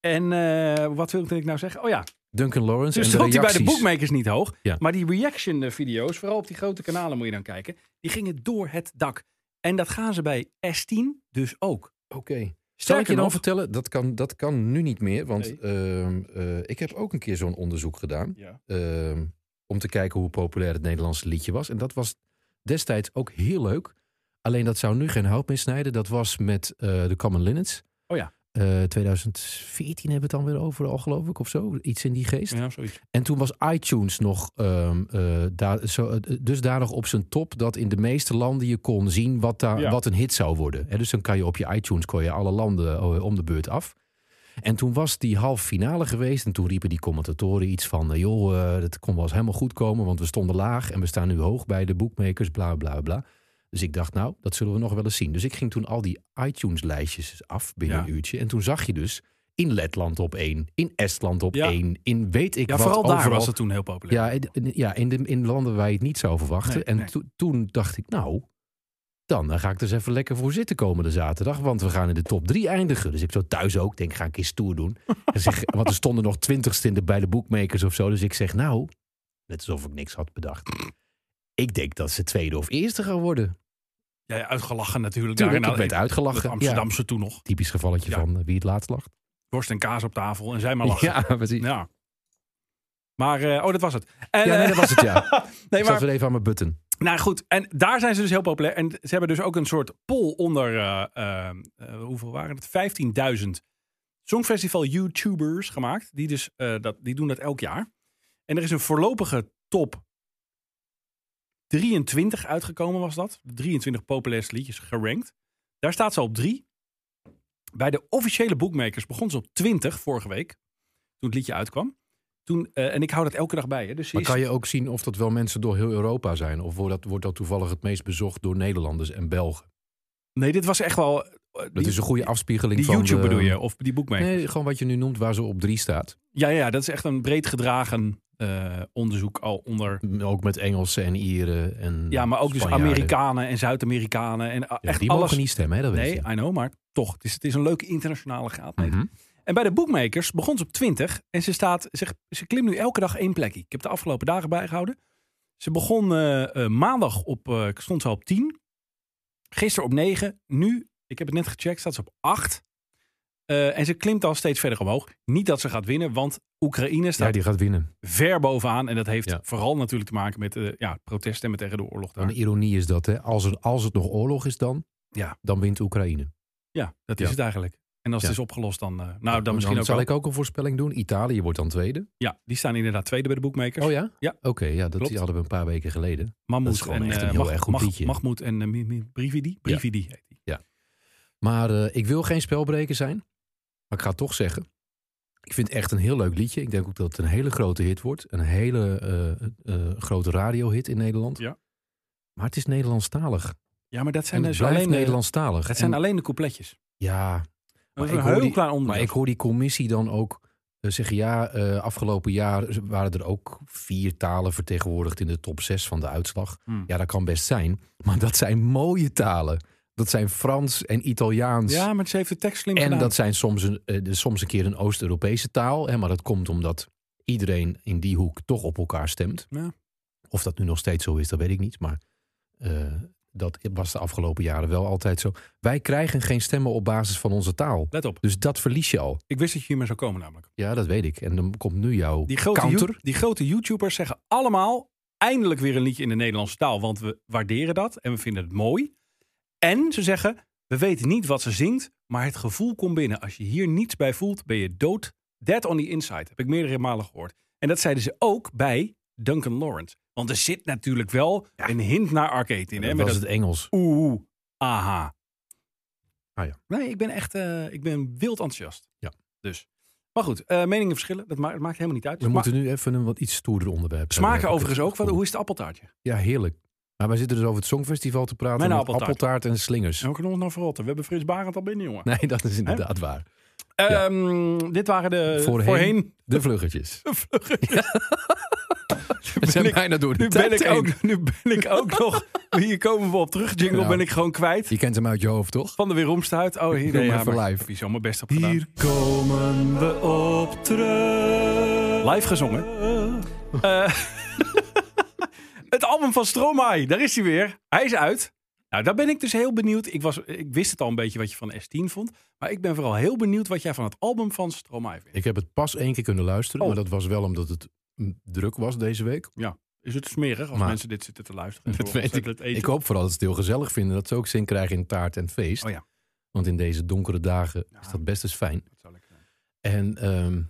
Speaker 3: En eh, wat wilde ik nou zeggen? Oh ja,
Speaker 4: Duncan Lawrence
Speaker 3: dus
Speaker 4: en de
Speaker 3: stond hij bij
Speaker 4: reacties.
Speaker 3: de boekmakers niet hoog.
Speaker 4: Ja.
Speaker 3: Maar die reaction eh, video's, vooral op die grote kanalen moet je dan kijken. Die gingen door het dak. En dat gaan ze bij S10 dus ook.
Speaker 4: Oké. Zal ik je dan
Speaker 3: nog-
Speaker 4: vertellen, dat kan, dat kan nu niet meer, want
Speaker 3: Nee.
Speaker 4: ehm, eh, ik heb ook een keer zo'n onderzoek gedaan.
Speaker 3: Ja.
Speaker 4: ehm, om te kijken hoe populair het Nederlandse liedje was. En dat was destijds ook heel leuk. Alleen dat zou nu geen hout meer snijden. Dat was met eh de Common Linnets.
Speaker 3: Oh ja.
Speaker 4: Eh, 2014 hebben we het dan weer overal, geloof ik, of zo. Iets in die geest.
Speaker 3: Ja, zoiets.
Speaker 4: En toen was iTunes nog ehm eh daar, zo, eh, dusdanig op zijn top dat in de meeste landen je kon zien wat, daar,
Speaker 3: Ja.
Speaker 4: wat een hit zou worden. Hè, dus dan kan je op je iTunes kon je alle landen eh, om de beurt af. En toen was die halve finale geweest en toen riepen die commentatoren iets van... eh, joh, eh, dat kon wel eens helemaal goed komen, want we stonden laag... en we staan nu hoog bij de boekmakers, bla, bla, bla. Dus ik dacht, nou, dat zullen we nog wel eens zien. Dus ik ging toen al die iTunes-lijstjes af binnen
Speaker 3: Ja.
Speaker 4: een uurtje. En toen zag je dus in Letland op één, in Estland op
Speaker 3: Ja.
Speaker 4: één... in weet ik
Speaker 3: Ja,
Speaker 4: wat
Speaker 3: vooral daar
Speaker 4: overal.
Speaker 3: was het toen heel populair.
Speaker 4: Ja, in- in- ja in, de, in landen waar je het niet zou verwachten.
Speaker 3: Nee,
Speaker 4: en
Speaker 3: nee.
Speaker 4: to- toen dacht ik, nou, dan eh, ga ik er eens even lekker voor zitten komende zaterdag. Want we gaan in de top drie eindigen. Dus ik zo thuis ook, denk, ga ik eens stoer doen. En zeg,
Speaker 3: [LAUGHS]
Speaker 4: want er stonden nog twintigste in de, bij de boekmakers of zo. Dus ik zeg, nou, net alsof ik niks had bedacht. Ik denk dat ze tweede of eerste gaan worden.
Speaker 3: Ja, nou, ja, uitgelachen natuurlijk.
Speaker 4: Tuurlijk,
Speaker 3: Daarin
Speaker 4: ik werd
Speaker 3: al-
Speaker 4: uitgelachen.
Speaker 3: het Amsterdamse toen nog.
Speaker 4: Ja, typisch gevalletje
Speaker 3: Ja.
Speaker 4: van eh, wie het laatst lacht.
Speaker 3: Worst en kaas op tafel en zij maar lachen. Ja.
Speaker 4: [LAUGHS] Ja, precies.
Speaker 3: Maar, eh, oh, dat was het. En,
Speaker 4: Ja, nee,
Speaker 3: eh,
Speaker 4: dat was het, ja.
Speaker 3: [LAUGHS] nee,
Speaker 4: Ik
Speaker 3: maar,
Speaker 4: zat weer even aan mijn button.
Speaker 3: nou goed. En daar zijn ze dus heel populair. En ze hebben dus ook een soort poll onder, eh, eh, eh, hoeveel waren het? 15.000 Songfestival-YouTubers gemaakt. Die, dus, eh, dat, die doen dat elk jaar. En er is een voorlopige top 23 uitgekomen was dat. 23 populairste liedjes gerankt. Daar staat ze op 3. Bij de officiële boekmakers begon ze op 20 vorige week. Toen het liedje uitkwam. Toen, eh, en ik hou dat elke dag bij. Hè. Dus ze
Speaker 4: Maar
Speaker 3: is-
Speaker 4: kan je ook zien of dat wel mensen door heel Europa zijn? Of wordt dat, wordt dat toevallig het meest bezocht door Nederlanders en Belgen?
Speaker 3: Nee, dit was echt wel... eh,
Speaker 4: Dat
Speaker 3: die-
Speaker 4: is een goede afspiegeling
Speaker 3: Die
Speaker 4: van
Speaker 3: YouTube
Speaker 4: de-
Speaker 3: bedoel je? Of die boekmaker?
Speaker 4: Nee, gewoon wat je nu noemt waar ze op drie staat.
Speaker 3: Ja, ja, dat is echt een breed gedragen eh, onderzoek al onder...
Speaker 4: Ook met Engelsen en Ieren en
Speaker 3: Ja, maar ook dus
Speaker 4: Hmm, Spanjaarden.
Speaker 3: Amerikanen en Zuid-Amerikanen. En ah,
Speaker 4: Ja,
Speaker 3: echt
Speaker 4: die
Speaker 3: alles.
Speaker 4: mogen niet stemmen, hè? Dat weet
Speaker 3: nee, ah,
Speaker 4: je.
Speaker 3: I know, maar toch. Het is, het is een leuke internationale graadmeter.
Speaker 4: Mhm.
Speaker 3: En bij de boekmakers begon ze op 20 en ze, staat, ze, ze klimt nu elke dag één plekje. Ik heb de afgelopen dagen bijgehouden. Ze begon eh, eh, maandag op, eh, stond ze op 10. Gisteren op 9. Nu, ik heb het net gecheckt, staat ze op 8. Eh, en ze klimt al steeds verder omhoog. Niet dat ze gaat winnen, want Oekraïne staat
Speaker 4: Ja, die gaat winnen.
Speaker 3: ver bovenaan. En dat heeft
Speaker 4: Ja.
Speaker 3: vooral natuurlijk te maken met eh ja, proteststemmen tegen de oorlog
Speaker 4: Wat
Speaker 3: daar.
Speaker 4: Een ironie is dat, hè? Als, er, als het nog oorlog is dan,
Speaker 3: Ja.
Speaker 4: dan wint Oekraïne.
Speaker 3: Ja, dat is
Speaker 4: Ja.
Speaker 3: het eigenlijk. En als
Speaker 4: Ja.
Speaker 3: het is opgelost, dan... eh, nou, dan misschien ook
Speaker 4: zal
Speaker 3: wel.
Speaker 4: ik ook een voorspelling doen. Italië wordt dan tweede.
Speaker 3: Ja, die staan inderdaad tweede bij de boekmakers.
Speaker 4: Oh ja?
Speaker 3: Ja.
Speaker 4: Oké, ja, dat
Speaker 3: Klopt.
Speaker 4: hadden we een paar weken geleden.
Speaker 3: Mahmoud
Speaker 4: Dat is gewoon
Speaker 3: en,
Speaker 4: echt een
Speaker 3: eh,
Speaker 4: heel
Speaker 3: Mag-
Speaker 4: erg goed
Speaker 3: Mag-
Speaker 4: liedje.
Speaker 3: Mahmoud en eh, Mi- Mi- Brividi. Brividi heet die.
Speaker 4: Maar eh, ik wil geen spelbreker zijn. Maar ik ga het toch zeggen. Ik vind het echt een heel leuk liedje. Ik denk ook dat het een hele grote hit wordt. Een hele eh, eh, grote radiohit in Nederland.
Speaker 3: Ja.
Speaker 4: Maar het is Nederlandstalig.
Speaker 3: Ja, maar dat
Speaker 4: En
Speaker 3: zijn
Speaker 4: het
Speaker 3: dus
Speaker 4: blijft
Speaker 3: alleen, de-
Speaker 4: Nederlandstalig.
Speaker 3: dat zijn
Speaker 4: En-
Speaker 3: alleen de coupletjes.
Speaker 4: Ja,
Speaker 3: Dat is
Speaker 4: ik
Speaker 3: een
Speaker 4: hoor
Speaker 3: heel
Speaker 4: die-
Speaker 3: klein
Speaker 4: maar
Speaker 3: onderdeel.
Speaker 4: ik hoor die commissie dan ook eh, zeggen... ja, eh, afgelopen jaar waren er ook vier talen vertegenwoordigd... in de top zes van de uitslag.
Speaker 3: Hmm.
Speaker 4: Ja, dat kan best zijn. [LAUGHS] Maar dat zijn mooie talen. Dat zijn Frans en Italiaans.
Speaker 3: Ja, maar ze heeft de tekst slim
Speaker 4: En
Speaker 3: gedaan.
Speaker 4: dat zijn soms een, eh, dus soms een keer een Oost-Europese taal. Hè, maar dat komt omdat iedereen in die hoek toch op elkaar stemt.
Speaker 3: Ja.
Speaker 4: Of dat nu nog steeds zo is, dat weet ik niet. Maar eh, Dat was de afgelopen jaren wel altijd zo. Wij krijgen geen stemmen op basis van onze taal.
Speaker 3: Let op.
Speaker 4: Dus dat verlies je al.
Speaker 3: Ik wist dat je hiermee zou komen namelijk.
Speaker 4: Ja, dat weet ik. En dan komt nu jouw
Speaker 3: Die grote,
Speaker 4: counter.
Speaker 3: You- die grote YouTubers zeggen allemaal eindelijk weer een liedje in de Nederlandse taal. Want we waarderen dat en we vinden het mooi. En ze zeggen, we weten niet wat ze zingt, maar het gevoel komt binnen. Als je hier niets bij voelt, ben je dood. Dead on the inside, heb ik meerdere malen gehoord. En dat zeiden ze ook bij Duncan Lawrence. Want er zit natuurlijk wel een hint naar arcade in. Hè?
Speaker 4: dat
Speaker 3: Met
Speaker 4: was
Speaker 3: dat
Speaker 4: het Engels.
Speaker 3: oeh, aha.
Speaker 4: Ah ja.
Speaker 3: Nee, ik ben echt eh, ik ben wild enthousiast.
Speaker 4: Ja.
Speaker 3: Dus. Maar goed, eh, meningen verschillen. Dat maakt, maakt helemaal niet uit.
Speaker 4: We
Speaker 3: Maar-
Speaker 4: moeten nu even een wat iets stoerder onderwerp. hebben,
Speaker 3: Smaken
Speaker 4: heb ik
Speaker 3: overigens
Speaker 4: het
Speaker 3: ook. Wat,
Speaker 4: gevoel.
Speaker 3: hoe is het appeltaartje?
Speaker 4: Ja, heerlijk. Maar wij zitten dus over het Songfestival te praten.
Speaker 3: Mijn
Speaker 4: met
Speaker 3: appeltaart.
Speaker 4: appeltaart en slingers.
Speaker 3: En we kunnen ons nou verrotten. We hebben Frits Barend al binnen, jongen.
Speaker 4: Nee, dat is inderdaad waar.
Speaker 3: Ehm, dit waren de
Speaker 4: Voorheen.
Speaker 3: voorheen,
Speaker 4: De vluggetjes.
Speaker 3: de vluggen. [LAUGHS]
Speaker 4: We zijn
Speaker 3: ik-
Speaker 4: bijna door de
Speaker 3: Nu
Speaker 4: tijd
Speaker 3: ben, ik
Speaker 4: heen.
Speaker 3: ook, nu ben ik ook
Speaker 4: [LAUGHS]
Speaker 3: nog... Hier komen we op terug. Jingle
Speaker 4: Nou.
Speaker 3: ben ik gewoon kwijt.
Speaker 4: Je kent hem uit je hoofd, toch?
Speaker 3: Van de weeromstuit. Oh, hier.
Speaker 4: Doe maar
Speaker 3: ja,
Speaker 4: voor
Speaker 3: maar ik
Speaker 4: live.
Speaker 3: heb Hier zo mijn best op gedaan.
Speaker 4: Hier komen we op terug.
Speaker 3: Live
Speaker 4: [LAUGHS]
Speaker 3: gezongen. Eh, [LAUGHS] het album van Stromae, daar is hij weer. Hij is uit. Nou, daar ben ik dus heel benieuwd. Ik, was, ik wist het al een beetje wat je van S10 vond. Maar ik ben vooral heel benieuwd wat jij van het album van Stromae vindt.
Speaker 4: Ik heb het pas één keer kunnen luisteren,
Speaker 3: Oh.
Speaker 4: maar dat was wel omdat het mm, druk was deze week.
Speaker 3: Is het smerig als
Speaker 4: Maar-
Speaker 3: mensen dit zitten te luisteren?
Speaker 4: Dat weet ik.
Speaker 3: Het
Speaker 4: Ik hoop vooral dat ze het heel gezellig vinden, dat ze ook zin krijgen in taart en feest.
Speaker 3: Oh ja.
Speaker 4: Want in deze donkere dagen is dat best eens fijn. En ehm,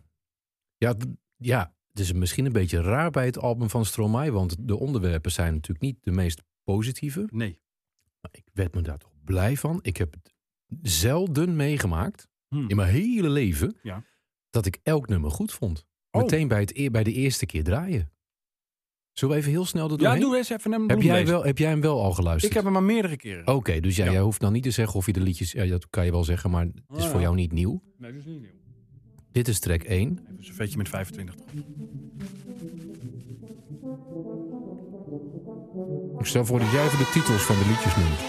Speaker 4: ja, d- ja, het is misschien een beetje raar bij het album van Stromae, want de onderwerpen zijn natuurlijk niet de meest positieve.
Speaker 3: Nee.
Speaker 4: Maar ik werd me daar toch blij van. Ik heb het zelden meegemaakt
Speaker 3: Hmm.
Speaker 4: in mijn hele leven
Speaker 3: Ja.
Speaker 4: dat ik elk nummer goed vond.
Speaker 3: Oh.
Speaker 4: Meteen bij, het, e- bij de eerste keer draaien. Zullen we even heel snel dat
Speaker 3: Ja, doe eens even hem.
Speaker 4: heb,
Speaker 3: doen
Speaker 4: jij
Speaker 3: deze.
Speaker 4: wel, heb jij hem wel al geluisterd?
Speaker 3: Ik heb hem maar meerdere keren.
Speaker 4: Oké, dus jij,
Speaker 3: Ja.
Speaker 4: jij hoeft dan niet te zeggen of je de liedjes... Ja, dat kan je wel zeggen, maar het is
Speaker 3: Oh,
Speaker 4: voor
Speaker 3: ja.
Speaker 4: jou niet nieuw.
Speaker 3: Nee, dat is niet nieuw.
Speaker 4: Dit is track 1.
Speaker 3: Even een servetje met 25.
Speaker 4: Ik stel voor dat jij even de titels van de liedjes noemt.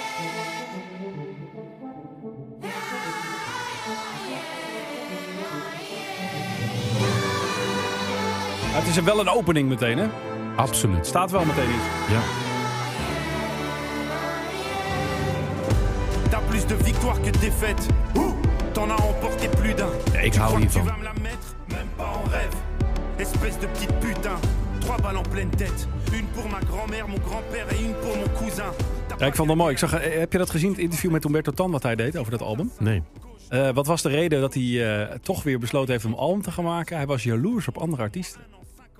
Speaker 3: Ja, het is wel een opening meteen, hè?
Speaker 4: Absoluut.
Speaker 3: Staat wel meteen iets.
Speaker 4: Ja.
Speaker 9: T'as plus de victoires que de défaites. Ouh, T'en as emporté plus d'un.
Speaker 4: ik
Speaker 9: Tu
Speaker 4: hou
Speaker 9: crois que tu
Speaker 4: hiervan.
Speaker 9: vas me la mettre Même pas en rêve. Espèce de petite putain. Trois balles en pleine tête. Une pour ma grand-mère, mon grand-père et une pour mon cousin. T'as
Speaker 3: Ja,
Speaker 9: pas
Speaker 3: ik vond het mooi. Ik zag, eh, heb je dat gezien, het interview met Humberto Tan, wat hij deed over dat album?
Speaker 4: Nee.
Speaker 3: Eh, wat was de reden dat hij eh, toch weer besloten heeft om een album te gaan maken? Hij was jaloers op andere artiesten.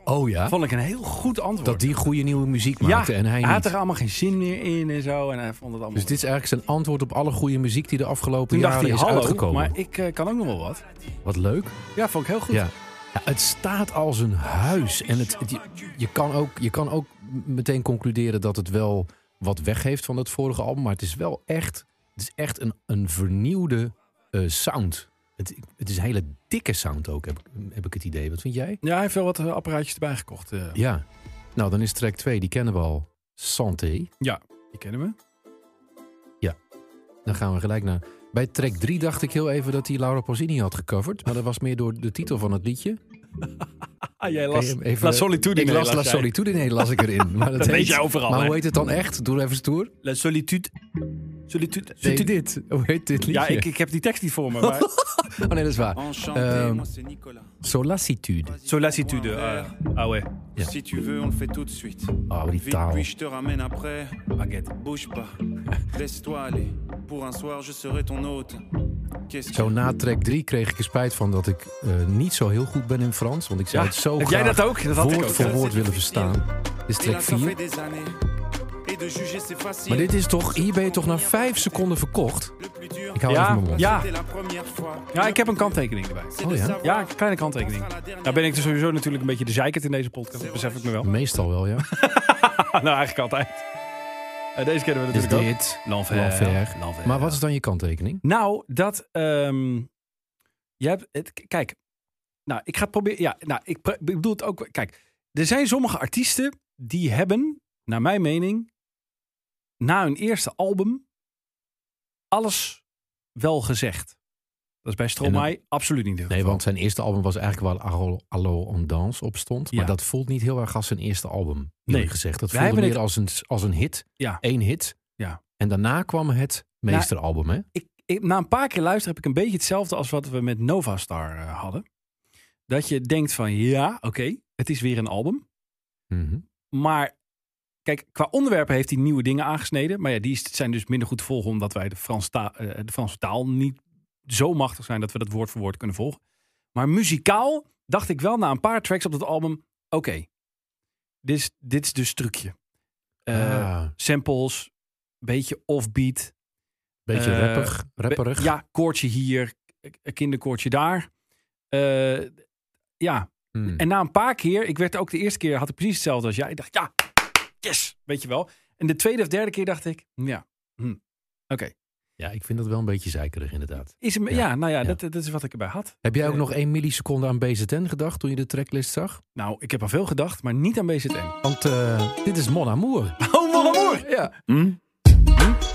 Speaker 4: Oh ja?
Speaker 3: Vond ik een heel goed antwoord.
Speaker 4: Dat die goede nieuwe muziek
Speaker 3: ja,
Speaker 4: maakte en hij
Speaker 3: had
Speaker 4: niet.
Speaker 3: er allemaal geen zin meer in en zo. En hij vond het allemaal...
Speaker 4: Dus dit is eigenlijk zijn antwoord op alle goede muziek die de afgelopen
Speaker 3: Toen dacht
Speaker 4: jaren
Speaker 3: hij,
Speaker 4: is
Speaker 3: hallo,
Speaker 4: uitgekomen.
Speaker 3: maar ik eh, kan ook nog wel wat.
Speaker 4: Wat leuk.
Speaker 3: Ja, vond ik heel goed.
Speaker 4: Ja. Ja, het staat als een huis. En het, het- je, je kan ook, je kan ook m- meteen concluderen dat het wel wat weg heeft van het vorige album. Maar het is wel echt, het is echt een, een vernieuwde eh, sound. Het, het is een hele dikke sound ook, heb, ik- heb ik het idee. Wat vind jij?
Speaker 3: Ja, hij heeft wel wat eh, apparaatjes erbij gekocht. eh.
Speaker 4: Ja. Nou, dan is track 2, die kennen we al. Santé.
Speaker 3: Ja, die kennen we.
Speaker 4: Dan gaan we gelijk naar... Bij track 3 dacht ik heel even dat hij Laura Pausini had gecoverd. Maar dat was meer door de titel van het liedje.
Speaker 3: Ah, jij
Speaker 4: Kan je
Speaker 3: las
Speaker 4: hem even-
Speaker 3: La Solitude.
Speaker 4: Ik las La Solitude in, las ik erin.
Speaker 3: [LAUGHS]
Speaker 4: Maar dat,
Speaker 3: weet
Speaker 4: heet-
Speaker 3: je overal,
Speaker 4: Maar
Speaker 3: hè?
Speaker 4: hoe heet het dan echt? Doe even stoer.
Speaker 3: La Solitude. Solitude.
Speaker 4: Nee, dit. [LAUGHS] Hoe heet dit liedje?
Speaker 3: Ja, ik, ik heb die tekst niet voor me,
Speaker 4: [LAUGHS]
Speaker 3: maar...
Speaker 4: Oh nee, dat is waar.
Speaker 9: Enchanté,
Speaker 4: Euh,
Speaker 3: Ehm,
Speaker 9: moi c'est Nicolas.
Speaker 4: Solacitude.
Speaker 3: Solitude. eh, ah ouais.
Speaker 4: Ja.
Speaker 9: Si tu veux, on le fait tout de suite.
Speaker 4: Oh, die
Speaker 9: Vite,
Speaker 4: taal.
Speaker 9: puis je te ramène après.
Speaker 3: Baguette.
Speaker 9: Bouge
Speaker 4: [LAUGHS]
Speaker 9: pas. Laisse-toi aller. Pour un soir, je serai ton hôte. Qu'est-ce que
Speaker 4: Zo na track 3 kreeg ik er spijt van dat ik eh, niet zo heel goed ben in Frans. Want ik zou
Speaker 3: Ja,
Speaker 4: het zo
Speaker 3: heb
Speaker 4: graag
Speaker 3: jij dat ook? Dat had ik
Speaker 4: woord
Speaker 3: ook,
Speaker 4: voor
Speaker 9: ja.
Speaker 4: woord willen verstaan. Dit is
Speaker 9: Et là,
Speaker 4: track
Speaker 9: ça fait
Speaker 4: 4.
Speaker 9: des années. Et de juger, c'est facile.
Speaker 4: Maar dit is toch... Hier ben je toch na 5 seconden verkocht?
Speaker 9: Le plus dur,
Speaker 4: Ik hou
Speaker 3: Ja,
Speaker 4: even mijn mond.
Speaker 3: ja.
Speaker 9: c'était la première fois.
Speaker 3: Ja, ik heb een kanttekening erbij.
Speaker 9: C'est
Speaker 4: Oh,
Speaker 9: de
Speaker 4: ja.
Speaker 9: savoir
Speaker 3: Ja, een kleine kanttekening. Nou ben ik dus sowieso natuurlijk een beetje de zeikert in deze podcast. Dat besef ik me wel. [LAUGHS]
Speaker 4: Meestal wel, ja.
Speaker 3: nou, eigenlijk altijd. Eh, deze kennen we
Speaker 4: Dus
Speaker 3: natuurlijk ook.
Speaker 4: dit.
Speaker 3: L'enfer.
Speaker 4: L'enfer.
Speaker 3: L'enfer.
Speaker 4: Maar wat is dan je kanttekening?
Speaker 3: Nou, dat... ehm, je hebt... Het, k- kijk. Nou, ik ga het proberen... Ja, nou, ik, pre- ik bedoel het ook... Kijk, er zijn sommige artiesten die hebben, naar mijn mening... na hun eerste album... alles wel gezegd. Dat is bij Stromae absoluut niet. het
Speaker 4: Nee,
Speaker 3: geval.
Speaker 4: want zijn eerste album was eigenlijk waar Allo, Allo on Dance op stond. Maar
Speaker 3: Ja.
Speaker 4: dat voelt niet heel erg als zijn eerste album,
Speaker 3: Nee.
Speaker 4: nee. gezegd. Dat
Speaker 3: Wij
Speaker 4: voelde
Speaker 3: hebben
Speaker 4: meer als, een, als een hit.
Speaker 3: Ja.
Speaker 4: Eén hit.
Speaker 3: Ja.
Speaker 4: En daarna kwam het meesteralbum, hè?
Speaker 3: ik, ik- na een paar keer luisteren heb ik een beetje hetzelfde als wat we met Nova Star eh, hadden. Dat je denkt van ja, oké, het is weer een album.
Speaker 4: Mhm.
Speaker 3: Maar kijk, qua onderwerpen heeft hij nieuwe dingen aangesneden. Maar ja, die is- zijn dus minder goed te volgen omdat wij de, Frans ta- eh, de Franse taal niet zo machtig zijn dat we dat woord voor woord kunnen volgen. Maar muzikaal dacht ik wel na een paar tracks op dat album, oké, dit, is, dit is dus trucje. Eh,
Speaker 4: Ah,
Speaker 3: Samples, beetje offbeat.
Speaker 4: beetje
Speaker 3: eh,
Speaker 4: rapper, rapperig.
Speaker 3: Ja, koortje hier, een kinderkoortje daar. Eh, ja,
Speaker 4: Hmm.
Speaker 3: en na een paar keer, ik werd ook de eerste keer, had ik precies hetzelfde als jij. Ik dacht, ja, yes, weet je wel. En de tweede of derde keer dacht ik, ja, hm, oké.
Speaker 4: ja, ik vind dat wel een beetje zeikerig inderdaad.
Speaker 3: Is hem, ja.
Speaker 4: Ja,
Speaker 3: nou ja,
Speaker 4: ja.
Speaker 3: Dat, dat is wat ik erbij had.
Speaker 4: Heb jij ook
Speaker 3: Eh,
Speaker 4: nog één milliseconde aan BZN gedacht toen je de tracklist zag?
Speaker 3: Nou, ik heb al veel gedacht, maar niet aan BZN.
Speaker 4: Want eh, dit is Mon Amour.
Speaker 3: [LAUGHS] Oh, mon amour! Ja.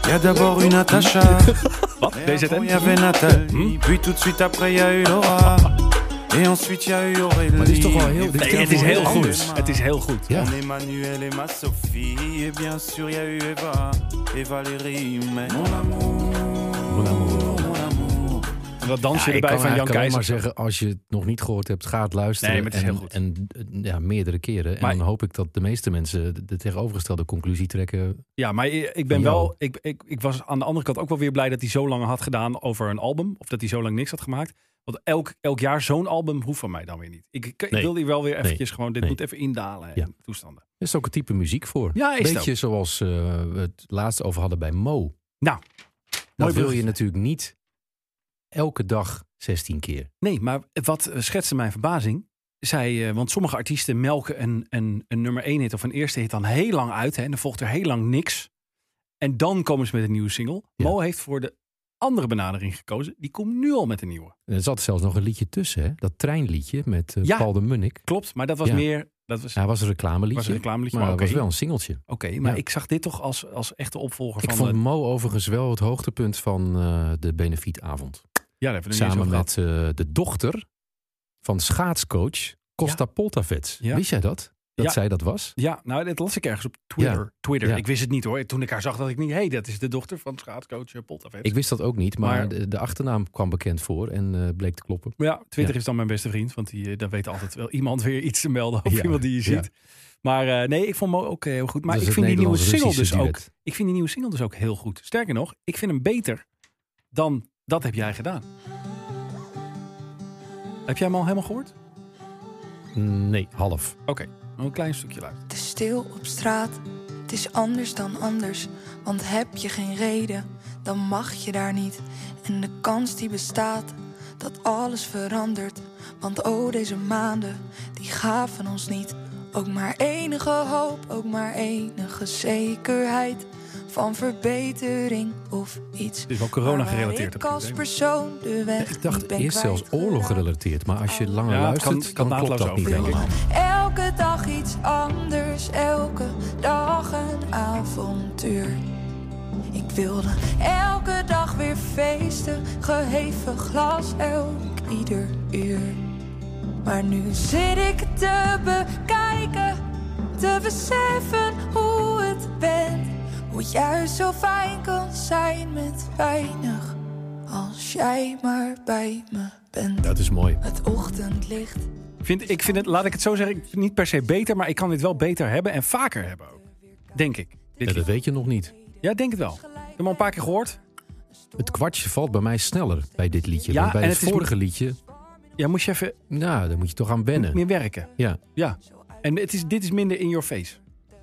Speaker 10: Y'a d'abord eu Natacha,
Speaker 3: Wat?
Speaker 4: [LAUGHS]
Speaker 8: oh,
Speaker 10: avant
Speaker 3: BZN?
Speaker 10: y avait Nathalie, puis tout de suite après y a eu Laura, et ensuite y a eu Aurélie.
Speaker 4: Maar dit is toch wel heel... Dit
Speaker 3: Nee, het is
Speaker 4: wel
Speaker 3: heel
Speaker 4: anders.
Speaker 3: goed. Het is heel goed.
Speaker 4: Ja.
Speaker 10: Mon Emmanuel et ma Sophie, et bien sûr y a eu Eva et Valérie, mais mon amour,
Speaker 4: Mon Amour.
Speaker 10: mon amour.
Speaker 3: En dat dansje
Speaker 4: Ja, ik
Speaker 3: erbij
Speaker 4: kan
Speaker 3: van Jan
Speaker 4: eigenlijk alleen
Speaker 3: Keizer.
Speaker 4: maar zeggen, als je het nog niet gehoord hebt, ga het luisteren.
Speaker 3: Nee, maar het is
Speaker 4: en,
Speaker 3: heel goed.
Speaker 4: En eh, ja, meerdere keren.
Speaker 3: Maar-
Speaker 4: en dan hoop ik dat de meeste mensen de- de tegenovergestelde conclusie trekken.
Speaker 3: Ja, maar i- ik ben
Speaker 4: Van jou.
Speaker 3: wel. Ik, ik, ik was aan de andere kant ook wel weer blij dat hij zo lang had gedaan over een album. Of dat hij zo lang niks had gemaakt. Want elk, elk jaar zo'n album hoeft van mij dan weer niet. Ik, ik, ik
Speaker 4: Nee.
Speaker 3: wil hier wel weer eventjes gewoon. Dit
Speaker 4: Nee.
Speaker 3: moet even indalen.
Speaker 4: Ja.
Speaker 3: en Toestanden.
Speaker 4: Er is ook een type muziek voor.
Speaker 3: Ja, is het
Speaker 4: Beetje zoals eh, we het laatst over hadden bij Mo.
Speaker 3: Nou,
Speaker 4: dat wil je
Speaker 3: bruggetje.
Speaker 4: natuurlijk niet elke dag 16 keer.
Speaker 3: Nee, maar wat eh, schetste mijn verbazing. Zij, eh, want sommige artiesten melken een, een, een nummer 1 hit of een eerste hit dan heel lang uit. Hè, en dan volgt er heel lang niks. En dan komen ze met een nieuwe single.
Speaker 4: Ja.
Speaker 3: Mo heeft voor de andere benadering gekozen. Die komt nu al met een nieuwe.
Speaker 4: En er zat zelfs nog een liedje tussen, hè? dat treinliedje met eh,
Speaker 3: Ja.
Speaker 4: Paul de Munnik.
Speaker 3: Klopt, maar dat was
Speaker 4: Ja.
Speaker 3: meer. Dat was,
Speaker 4: Hij was een reclameliedje,
Speaker 3: was een reclameliedje.
Speaker 4: maar
Speaker 3: Maar,
Speaker 4: dat
Speaker 3: oké.
Speaker 4: was wel een singeltje.
Speaker 3: Oké, maar
Speaker 4: Ja.
Speaker 3: ik zag dit toch als, als echte opvolger
Speaker 4: Ik
Speaker 3: van...
Speaker 4: vond
Speaker 3: eh,
Speaker 4: Mo overigens wel het hoogtepunt van eh, de benefietavond.
Speaker 3: ja, daar hebben we het nog niet
Speaker 4: Samen
Speaker 3: eens over
Speaker 4: met eh, de dochter van schaatscoach Costa Poltavets.
Speaker 3: Ja.
Speaker 4: Wist jij dat? Dat
Speaker 3: Ja.
Speaker 4: zij dat was?
Speaker 3: gehad. Ja, nou, dat las ik ergens op Twitter. Twitter.
Speaker 4: Ja.
Speaker 3: Ik wist het niet hoor. Toen ik haar zag, dacht ik niet... Hé, hey, dat is de dochter van schaatscoach eh, Poltavets.
Speaker 4: Ik wist dat ook niet, maar,
Speaker 3: Maar-
Speaker 4: de, de achternaam kwam bekend voor en eh, bleek te kloppen.
Speaker 3: Maar ja, Twitter
Speaker 4: Ja.
Speaker 3: is dan mijn beste vriend, want die, eh, daar weet altijd wel iemand weer iets te melden over
Speaker 4: Ja,
Speaker 3: iemand die je
Speaker 4: ja.
Speaker 3: ziet. Maar eh, nee, ik vond Mo ook eh, heel goed. Maar
Speaker 4: Dat
Speaker 3: ik
Speaker 4: is
Speaker 3: vind
Speaker 4: Dus het
Speaker 3: die nieuwe single
Speaker 4: Nederlands-Russische
Speaker 3: dus ook.
Speaker 4: duet.
Speaker 3: Ik vind die nieuwe single dus ook heel goed. Sterker nog, ik vind hem beter dan dat heb jij gedaan. Heb jij hem al helemaal gehoord?
Speaker 4: Nee, half.
Speaker 3: Oké, nog een klein stukje luid.
Speaker 8: Het is stil op straat, het is anders dan anders. Want heb je geen reden, dan mag je daar niet. En de kans die bestaat dat alles verandert. Want oh, deze maanden, die gaven ons niet. Ook maar enige hoop, ook maar enige zekerheid van verbetering of iets.
Speaker 3: Het is wel corona gerelateerd.
Speaker 8: Ik als persoon de weg.
Speaker 4: Ik dacht
Speaker 8: niet Eh, ben
Speaker 4: eerst zelfs
Speaker 8: kwijtgeraakt.
Speaker 4: oorlog gerelateerd, maar als je langer
Speaker 3: Ja, het kan-
Speaker 4: luistert,
Speaker 3: kan
Speaker 4: dan klopt
Speaker 3: naadloos
Speaker 4: dat niet
Speaker 3: over, denk ik.
Speaker 4: helemaal.
Speaker 8: Elke dag iets anders, elke dag een avontuur. Ik wilde elke dag weer feesten, geheven glas elk ieder uur. Maar nu zit ik het te bekijken, te beseffen hoe het bent. Hoe het juist zo fijn kan zijn met weinig, als jij maar bij me bent.
Speaker 4: Dat is mooi.
Speaker 8: Het ochtendlicht.
Speaker 3: Ik vind, ik vind het, laat ik het zo zeggen, ik vind het niet per se beter, maar ik kan dit wel beter hebben en vaker hebben ook. Denk ik. Dit
Speaker 4: Ja, dat
Speaker 3: lied.
Speaker 4: weet je nog niet.
Speaker 3: Ja, denk het wel. Ik heb hem al een paar keer gehoord.
Speaker 4: Het kwartje valt bij mij sneller bij dit liedje.
Speaker 3: Ja,
Speaker 4: want bij
Speaker 3: en
Speaker 4: het,
Speaker 3: het is-
Speaker 4: vorige liedje,
Speaker 3: Ja, moest je even
Speaker 4: nou, daar moet je toch aan wennen.
Speaker 3: meer werken.
Speaker 4: Ja,
Speaker 3: Ja. En het is, dit is minder in your face.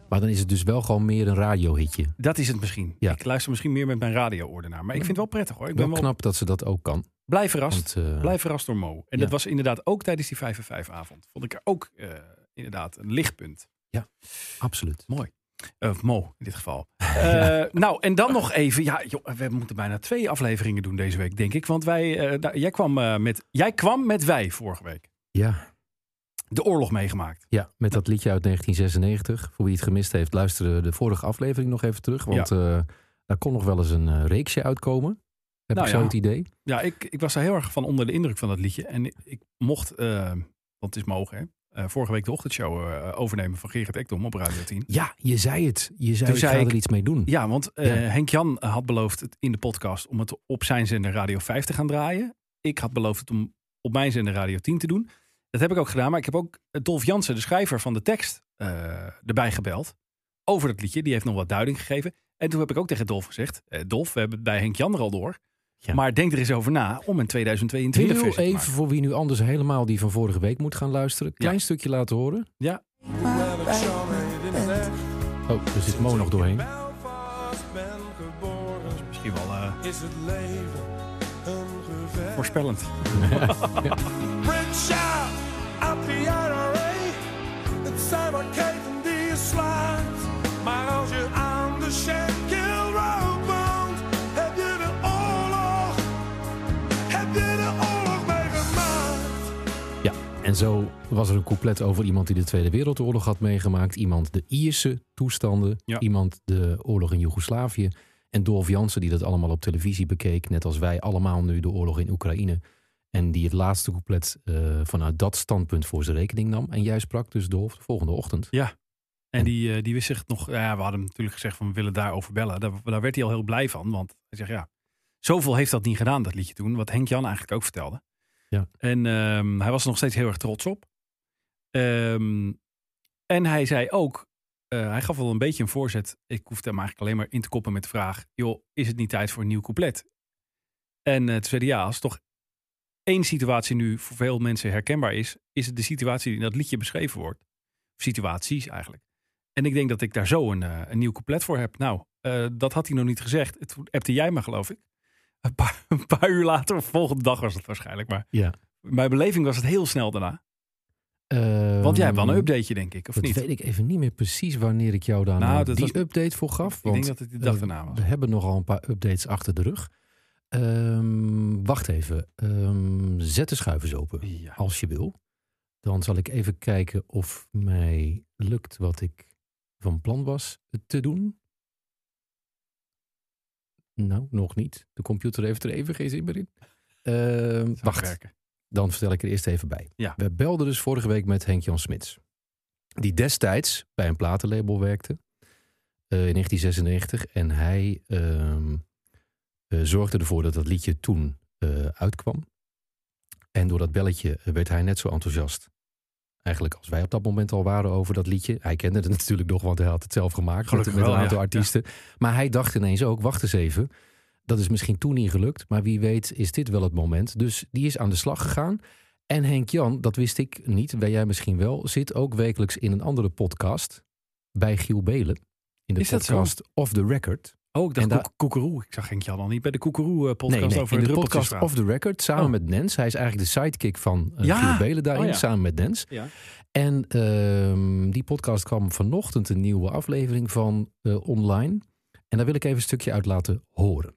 Speaker 4: maar dan is het dus wel gewoon meer een radiohitje.
Speaker 3: Dat is het misschien.
Speaker 4: Ja.
Speaker 3: Ik luister misschien meer met mijn radio-oordenaar. Maar ik vind het wel prettig hoor. Ik ben
Speaker 4: Wel
Speaker 3: wel,
Speaker 4: knap dat ze dat ook kan.
Speaker 3: blij verrast.
Speaker 4: Want, eh,
Speaker 3: Blij verrast door Mo. En
Speaker 4: ja.
Speaker 3: dat was inderdaad ook tijdens die 5 en 5 avond. Vond ik er ook eh, inderdaad een lichtpunt.
Speaker 4: Absoluut.
Speaker 3: Of Mo in dit geval. Eh, nou, en dan nog even. Ja, joh, we moeten bijna twee afleveringen doen deze week, denk ik. Want wij, eh, nou, jij, kwam, eh, met, jij kwam met wij vorige week.
Speaker 4: Ja,
Speaker 3: De oorlog meegemaakt.
Speaker 4: Ja, met dat liedje uit 1996. Voor wie het gemist heeft, luister de vorige aflevering nog even terug. Want eh, daar kon nog wel eens een eh, reeksje uitkomen. Heb
Speaker 3: Nou
Speaker 4: ik zo
Speaker 3: ja.
Speaker 4: het idee.
Speaker 3: Ja, ik, ik was daar heel erg van onder de indruk van dat liedje. En ik mocht, eh want het is mogen hè. eh, vorige week de ochtendshow eh, overnemen van Gerrit Ekdom op Radio 10.
Speaker 4: Ja, je zei het. Je zei,
Speaker 3: Toen
Speaker 4: ik
Speaker 3: zei
Speaker 4: ga
Speaker 3: ik-
Speaker 4: er iets mee doen.
Speaker 3: Ja, want eh,
Speaker 4: Ja.
Speaker 3: Henk Jan had beloofd het in de podcast om het op zijn zender Radio 5 te gaan draaien. Ik had beloofd het om op mijn zender Radio 10 te doen. Dat heb ik ook gedaan, maar ik heb ook eh, Dolf Jansen, de schrijver van de tekst, eh, erbij gebeld. Over het liedje, die heeft nog wat duiding gegeven. En toen heb ik ook tegen Dolf gezegd, eh, Dolf, we hebben het bij Henk Jan er al door.
Speaker 4: Ja.
Speaker 3: Maar denk er eens over na om een 2022
Speaker 4: Heel
Speaker 3: versie te
Speaker 4: even
Speaker 3: maken.
Speaker 4: voor wie nu anders helemaal die van vorige week moet gaan luisteren. Klein stukje laten horen.
Speaker 3: Ja,
Speaker 8: maar bij me bent.
Speaker 4: Oh, er zit Mo nog doorheen.
Speaker 3: misschien wel eh, voorspellend.
Speaker 9: Maar als je aan de Shankill-road woont, heb je de oorlog, heb je de oorlog meegemaakt.
Speaker 4: Ja, en zo was er een couplet over iemand die de Tweede Wereldoorlog had meegemaakt. Iemand de Ierse toestanden.
Speaker 3: Ja.
Speaker 4: Iemand de oorlog in Joegoslavië. En Dolf Jansen, die dat allemaal op televisie bekeek. Net als wij allemaal nu de oorlog in Oekraïne. En die het laatste couplet eh, vanuit dat standpunt voor zijn rekening nam. En jij sprak dus Dolf de volgende ochtend.
Speaker 3: En die, eh, die wist zich nog, nou ja, we hadden hem natuurlijk gezegd van we willen daarover bellen. Daar, daar werd hij al heel blij van, want hij zegt ja, zoveel heeft dat niet gedaan, dat liedje toen. Wat Henk Jan eigenlijk ook vertelde.
Speaker 4: Ja.
Speaker 3: En ehm, hij was er nog steeds heel erg trots op. Ehm, en hij zei ook, eh, hij gaf wel een beetje een voorzet. Ik hoefde hem eigenlijk alleen maar in te koppen met de vraag, joh, is het niet tijd voor een nieuw couplet? En eh, het tweede ja, als toch één situatie nu voor veel mensen herkenbaar is, is het de situatie die in dat liedje beschreven wordt. Of situaties eigenlijk. En ik denk dat ik daar zo een, eh, een nieuw couplet voor heb. Nou, eh, dat had hij nog niet gezegd. Het appte jij me, geloof ik. [LAUGHS] Een paar, een paar uur later, of volgende dag was het waarschijnlijk. Maar
Speaker 4: Ja.
Speaker 3: mijn beleving was het heel snel daarna. Want
Speaker 4: Want
Speaker 3: jij hebt wel een updateje, denk ik, of
Speaker 4: Ehm, Dat
Speaker 3: niet?
Speaker 4: weet ik even niet meer precies wanneer ik jou daar
Speaker 3: Nou,
Speaker 4: nou,
Speaker 3: dat
Speaker 4: die
Speaker 3: was-
Speaker 4: update voor gaf.
Speaker 3: ik
Speaker 4: want
Speaker 3: denk dat het de dag
Speaker 4: eh,
Speaker 3: daarna was.
Speaker 4: We hebben nogal een paar updates achter de rug. Ehm, wacht even. Ehm, zet de schuivers open,
Speaker 3: Ja.
Speaker 4: als je wil. Dan zal ik even kijken of mij lukt wat ik van plan was te doen. Nou, nog niet. De computer heeft er even geen zin meer in. Ehm, wacht
Speaker 3: Werken.
Speaker 4: dan vertel ik er eerst even bij.
Speaker 3: Ja.
Speaker 4: We belden dus vorige week met Henk-Jan Smits. Die destijds bij een platenlabel werkte. eh, in 1996. En hij ehm, eh, zorgde ervoor dat dat liedje toen eh, uitkwam. En door dat belletje werd hij net zo enthousiast. Eigenlijk als wij op dat moment al waren over dat liedje. Hij kende het [LAUGHS] natuurlijk nog, want hij had het zelf gemaakt.
Speaker 3: Gelukkig
Speaker 4: met, met
Speaker 3: wel,
Speaker 4: een aantal
Speaker 3: ja.
Speaker 4: artiesten. Maar hij dacht ineens ook, wacht eens even. Dat is misschien toen niet gelukt, maar wie weet is dit wel het moment. Dus die is aan de slag gegaan. En Henk Jan, dat wist ik niet, weet jij misschien wel, zit ook wekelijks in een andere podcast bij Giel Belen. In de
Speaker 3: Is dat zo?
Speaker 4: podcast Off the Record.
Speaker 3: Oh, ik dacht
Speaker 4: En daar-
Speaker 3: koek- koekeroe. Ik zag Henk-Jan al niet bij de koekeroe-podcast
Speaker 4: nee, nee,
Speaker 3: over
Speaker 4: in de
Speaker 3: druppeltjes
Speaker 4: podcast
Speaker 3: praten.
Speaker 4: Off the Record samen
Speaker 3: Oh.
Speaker 4: met Nens. Hij is eigenlijk de sidekick van eh,
Speaker 3: Ja.
Speaker 4: Giel Belen daarin,
Speaker 3: Oh, ja.
Speaker 4: samen met Nens.
Speaker 3: Ja.
Speaker 4: En ehm, die podcast kwam vanochtend een nieuwe aflevering van eh, online. En daar wil ik even een stukje uit laten horen.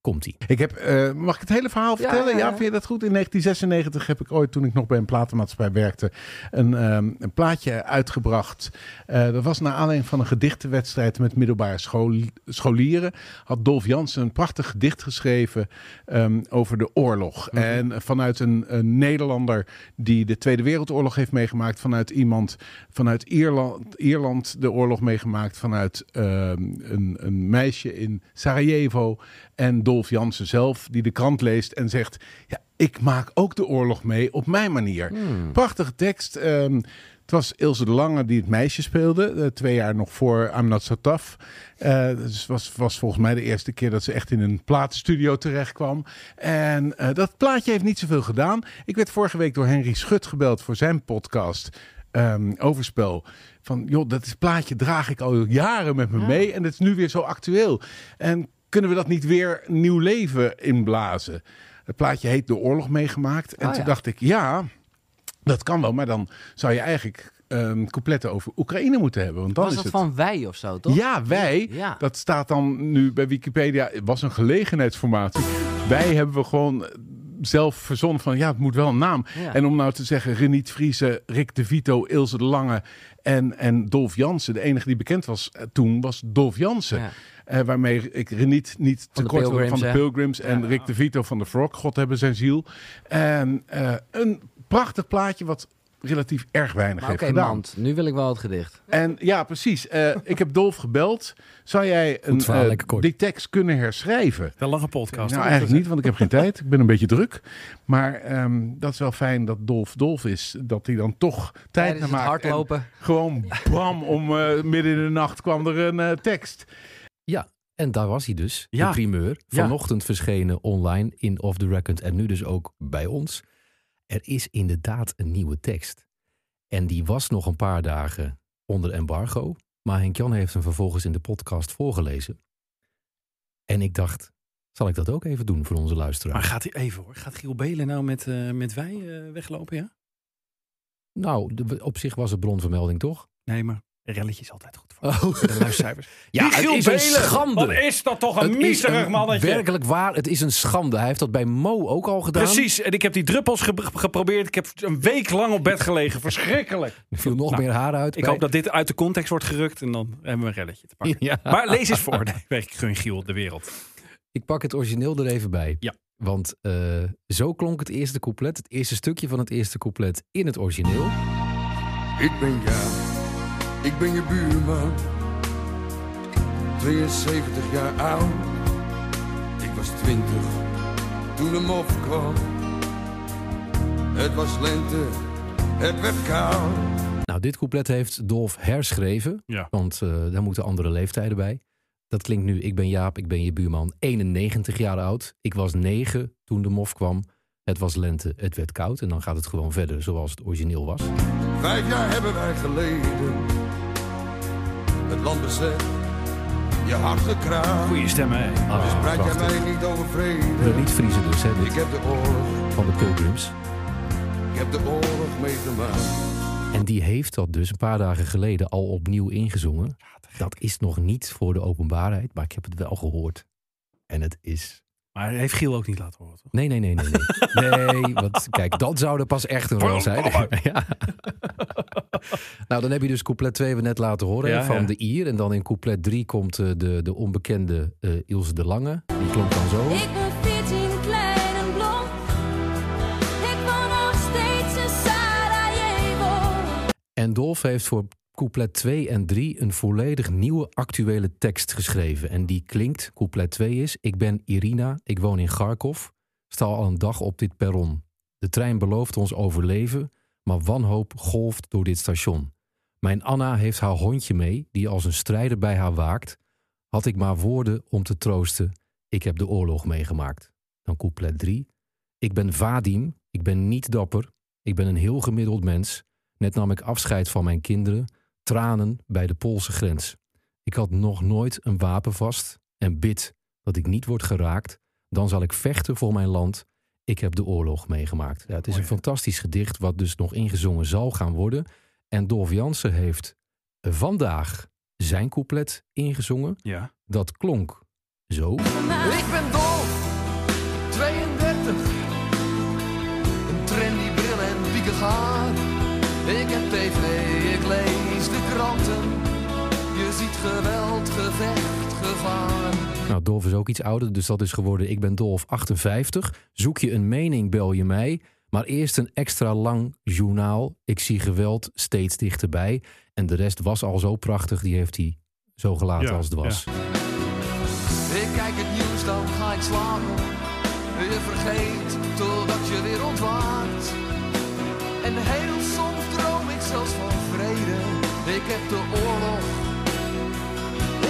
Speaker 4: Komt-ie.
Speaker 11: Ik heb, eh, mag ik het hele verhaal vertellen? Ja, vind je dat goed? In 1996 heb ik ooit, toen ik nog bij een platenmaatschappij werkte, een, ehm, een plaatje uitgebracht. Eh, dat was naar aanleiding van een gedichtenwedstrijd met middelbare school- scholieren. Had Dolf Jansen een prachtig gedicht geschreven ehm, over de oorlog. En vanuit een, een Nederlander die de Tweede Wereldoorlog heeft meegemaakt, vanuit iemand vanuit Ierland, Ierland de oorlog meegemaakt, vanuit ehm, een, een meisje in Sarajevo. En Dolf Jansen zelf, die de krant leest en zegt: Ja, ik maak ook de oorlog mee op mijn manier. Prachtige tekst. ehm, het was Ilse de Lange die het meisje speelde. eh, twee jaar nog voor I'm Not So Tough. Eh, dus het was, was volgens mij de eerste keer dat ze echt in een platenstudio terecht kwam. En eh, dat plaatje heeft niet zoveel gedaan. Ik werd vorige week door Henry Schut gebeld voor zijn podcast ehm, overspel. Van joh, dat is plaatje draag ik al jaren met me mee. En het is nu weer zo actueel. En kunnen we dat niet weer nieuw leven inblazen? Het plaatje heet De Oorlog meegemaakt. En
Speaker 4: Ah,
Speaker 11: toen
Speaker 4: ja.
Speaker 11: dacht ik, ja, dat kan wel. Maar dan zou je eigenlijk ehm, coupletten over Oekraïne moeten hebben. Want dan
Speaker 12: Was
Speaker 11: is
Speaker 12: dat
Speaker 11: het...
Speaker 12: van wij of zo, toch?
Speaker 11: Ja, wij.
Speaker 12: Ja.
Speaker 11: Dat staat dan nu bij Wikipedia. Het was een gelegenheidsformatie. Wij hebben we gewoon eh, zelf verzonnen van ja, het moet wel een naam.
Speaker 12: Ja.
Speaker 11: En om nou te zeggen, Reniet Vriezen, Rick de Vito, Ilse de Lange en, en Dolf Jansen. De enige die bekend was eh, toen was Dolf Jansen.
Speaker 12: Ja.
Speaker 11: Eh, waarmee ik Reniet niet
Speaker 12: Van de
Speaker 11: tekort wil van
Speaker 12: Pilgrims,
Speaker 11: de
Speaker 12: hè?
Speaker 11: Pilgrims en Rick de Vito van de Frog, God hebben zijn ziel. En eh, een prachtig plaatje wat relatief erg weinig
Speaker 12: Maar
Speaker 11: heeft
Speaker 12: oké,
Speaker 11: gedaan.
Speaker 12: Mand, nu wil ik wel het gedicht.
Speaker 11: En ja, precies. Eh, ik heb Dolf gebeld. Zou jij een,
Speaker 12: verhaal,
Speaker 11: eh,
Speaker 12: lekker kort.
Speaker 11: die tekst kunnen herschrijven?
Speaker 3: Een lange podcast.
Speaker 11: Nou, eigenlijk niet, want ik heb geen tijd. Ik ben een beetje druk. Maar ehm, dat is wel fijn dat Dolf Dolf is. Dat hij dan toch tijd
Speaker 12: Tijdens
Speaker 11: naar
Speaker 12: dus het
Speaker 11: maakt. En
Speaker 12: hardlopen.
Speaker 11: Gewoon bam, om eh, midden in de nacht kwam er een eh, tekst.
Speaker 4: Ja, en daar was hij dus,
Speaker 11: Ja.
Speaker 4: de primeur.
Speaker 11: Ja.
Speaker 4: Vanochtend verschenen online in Off the Record en nu dus ook bij ons. Er is inderdaad een nieuwe tekst. En die was nog een paar dagen onder embargo. Maar Henk-Jan heeft hem vervolgens in de podcast voorgelezen. En ik dacht, zal ik dat ook even doen voor onze luisteraar?
Speaker 3: Maar gaat hij even hoor. Gaat Giel Belen nou met, eh, met wij eh, weglopen, ja?
Speaker 4: Nou, de- op zich was het bronvermelding toch?
Speaker 3: Nee, maar een relletje is altijd goed.
Speaker 4: Oh.
Speaker 3: De luistcijfers.
Speaker 4: [LAUGHS] Ja,
Speaker 3: Die
Speaker 4: het
Speaker 3: Giel
Speaker 4: is een
Speaker 3: Belen,
Speaker 4: schande.
Speaker 3: wat is dat toch een
Speaker 4: Het is
Speaker 3: miserig mannetje.
Speaker 4: Werkelijk waar, het is een schande. Hij heeft dat bij Mo ook al gedaan.
Speaker 3: Precies, en ik heb die druppels ge- geprobeerd. Ik heb een week lang op bed gelegen. Verschrikkelijk.
Speaker 4: Er viel nog
Speaker 3: Nou,
Speaker 4: meer haar uit.
Speaker 3: Ik
Speaker 4: bij-
Speaker 3: hoop dat dit uit de context wordt gerukt en dan hebben we een relletje te pakken.
Speaker 4: [LAUGHS] Ja.
Speaker 3: Maar lees eens voor. [LAUGHS] Nee, ik gun Giel de wereld.
Speaker 4: Ik pak het origineel er even bij.
Speaker 3: Ja.
Speaker 4: Want eh, zo klonk het eerste couplet, het eerste stukje van het eerste couplet in het origineel.
Speaker 13: Ik ben Jaap, ik ben je buurman. 72 jaar oud, ik was 20 toen de mof kwam. Het was lente, het werd koud.
Speaker 4: Nou, dit couplet heeft Dolf herschreven,
Speaker 3: Ja.
Speaker 4: want eh, daar moeten andere leeftijden bij. Dat klinkt nu, ik ben Jaap, ik ben je buurman, 91 jaar oud. Ik was 9 toen de mof kwam. Het was lente, het werd koud. En dan gaat het gewoon verder zoals het origineel
Speaker 13: Ah,
Speaker 4: was.
Speaker 13: dus Vijf jaar hebben wij geleden. Het land bezet, je hart gekraakt.
Speaker 3: Goeie stem, hè?
Speaker 4: Ah,
Speaker 13: dus praat jij
Speaker 4: prachtig.
Speaker 13: mij niet over
Speaker 4: Ik wil
Speaker 13: vrede.
Speaker 4: niet vriezen dus, hè,
Speaker 13: Ik
Speaker 4: dit,
Speaker 13: heb de oorlog,
Speaker 4: van de Pilgrims.
Speaker 13: ik heb de oorlog meegemaakt.
Speaker 4: En die heeft dat dus een paar dagen geleden al opnieuw ingezongen. Dat is nog niet voor de openbaarheid, maar ik heb het wel gehoord. En het is.
Speaker 3: Maar heeft Giel ook niet laten horen. toch?
Speaker 4: Nee, nee, nee, nee.
Speaker 3: [LAUGHS]
Speaker 4: Nee, nee want kijk, dat zou er pas echt een rol zijn. [LAUGHS] Ja. Nou, dan heb je dus couplet 2 we net laten horen hè,
Speaker 3: Ja,
Speaker 4: van
Speaker 3: ja.
Speaker 4: de Ier. En dan in couplet 3 komt eh, de, de onbekende eh, Ilse de Lange. Die klonk dan zo.
Speaker 14: Ik ben 14, klein en blond. Ik woon nog steeds in Sarajevo.
Speaker 4: En Dolf heeft voor couplet 2 en 3 een volledig nieuwe actuele tekst geschreven. En die klinkt, couplet 2 is... Ik ben Irina, ik woon in Kharkov, sta al een dag op dit perron. De trein belooft ons overleven, maar wanhoop golft door dit station. Mijn Anna heeft haar hondje mee, die als een strijder bij haar waakt. Had ik maar woorden om te troosten, ik heb de oorlog meegemaakt. Dan couplet 3. Ik ben Vadim, ik ben niet dapper, ik ben een heel gemiddeld mens... Net nam ik afscheid van mijn kinderen, tranen bij de Poolse grens. Ik had nog nooit een wapen vast en bid dat ik niet word geraakt. Dan zal ik vechten voor mijn land. Ik heb de oorlog meegemaakt. Ja, het is een fantastisch gedicht wat dus nog ingezongen zal gaan worden. En Dolf Jansen heeft vandaag zijn couplet ingezongen.
Speaker 3: Ja.
Speaker 4: Dat klonk zo.
Speaker 14: Ik ben dol.
Speaker 13: 32. Een trendy bril en piekig haar. Ik heb tv, ik lees de kranten. Je ziet geweld, gevecht, gevaar.
Speaker 4: Nou, Dolf is ook iets ouder, dus dat is geworden Ik ben Dolf 58. Zoek je een mening, bel je mij. Maar eerst een extra lang journaal. Ik zie geweld steeds dichterbij. En de rest was al zo prachtig, die heeft hij zo gelaten
Speaker 13: Ja,
Speaker 4: als het was.
Speaker 13: Ik kijk het nieuws, dan ga ik slapen. Je vergeet totdat je weer ontwaakt. En heel soms droom ik zelfs van vrede. Ik heb de oorlog.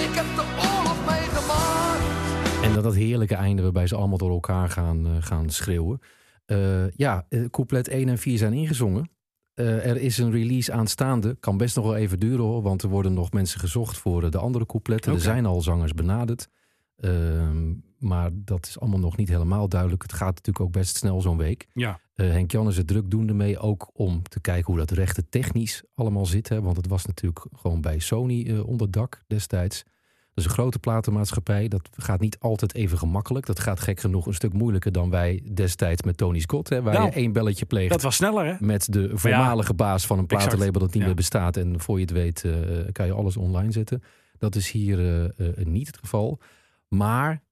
Speaker 13: Ik heb de oorlog meegemaakt.
Speaker 4: En dat dat heerlijke einde waarbij ze allemaal door elkaar gaan, eh, gaan schreeuwen. Eh, ja, eh, couplet 1 en 4 zijn ingezongen. Eh, er is een release aanstaande. Kan best nog wel even duren hoor, want er worden nog mensen gezocht voor eh, de andere coupletten.
Speaker 3: Oké.
Speaker 4: Er zijn al zangers benaderd. Ehm, maar dat is allemaal nog niet helemaal duidelijk. Het gaat natuurlijk ook best snel zo'n week.
Speaker 3: Ja.
Speaker 4: Eh, Henk Jan is er drukdoende mee ook om te kijken hoe dat rechten technisch allemaal zit. Hè? Want het was natuurlijk gewoon bij Sony eh, onder dak destijds. Dat is een grote platenmaatschappij. Dat gaat niet altijd even gemakkelijk. Dat gaat gek genoeg een stuk moeilijker dan wij destijds met Tony Scott. Hè? Waar
Speaker 3: Nou,
Speaker 4: je één belletje pleegt
Speaker 3: Dat was sneller, hè?
Speaker 4: met de voormalige baas van een
Speaker 3: exact.
Speaker 4: platenlabel dat niet
Speaker 3: Ja.
Speaker 4: meer bestaat. En voor je het weet eh, kan je alles online zetten. Dat is hier eh, eh, niet het geval. Maar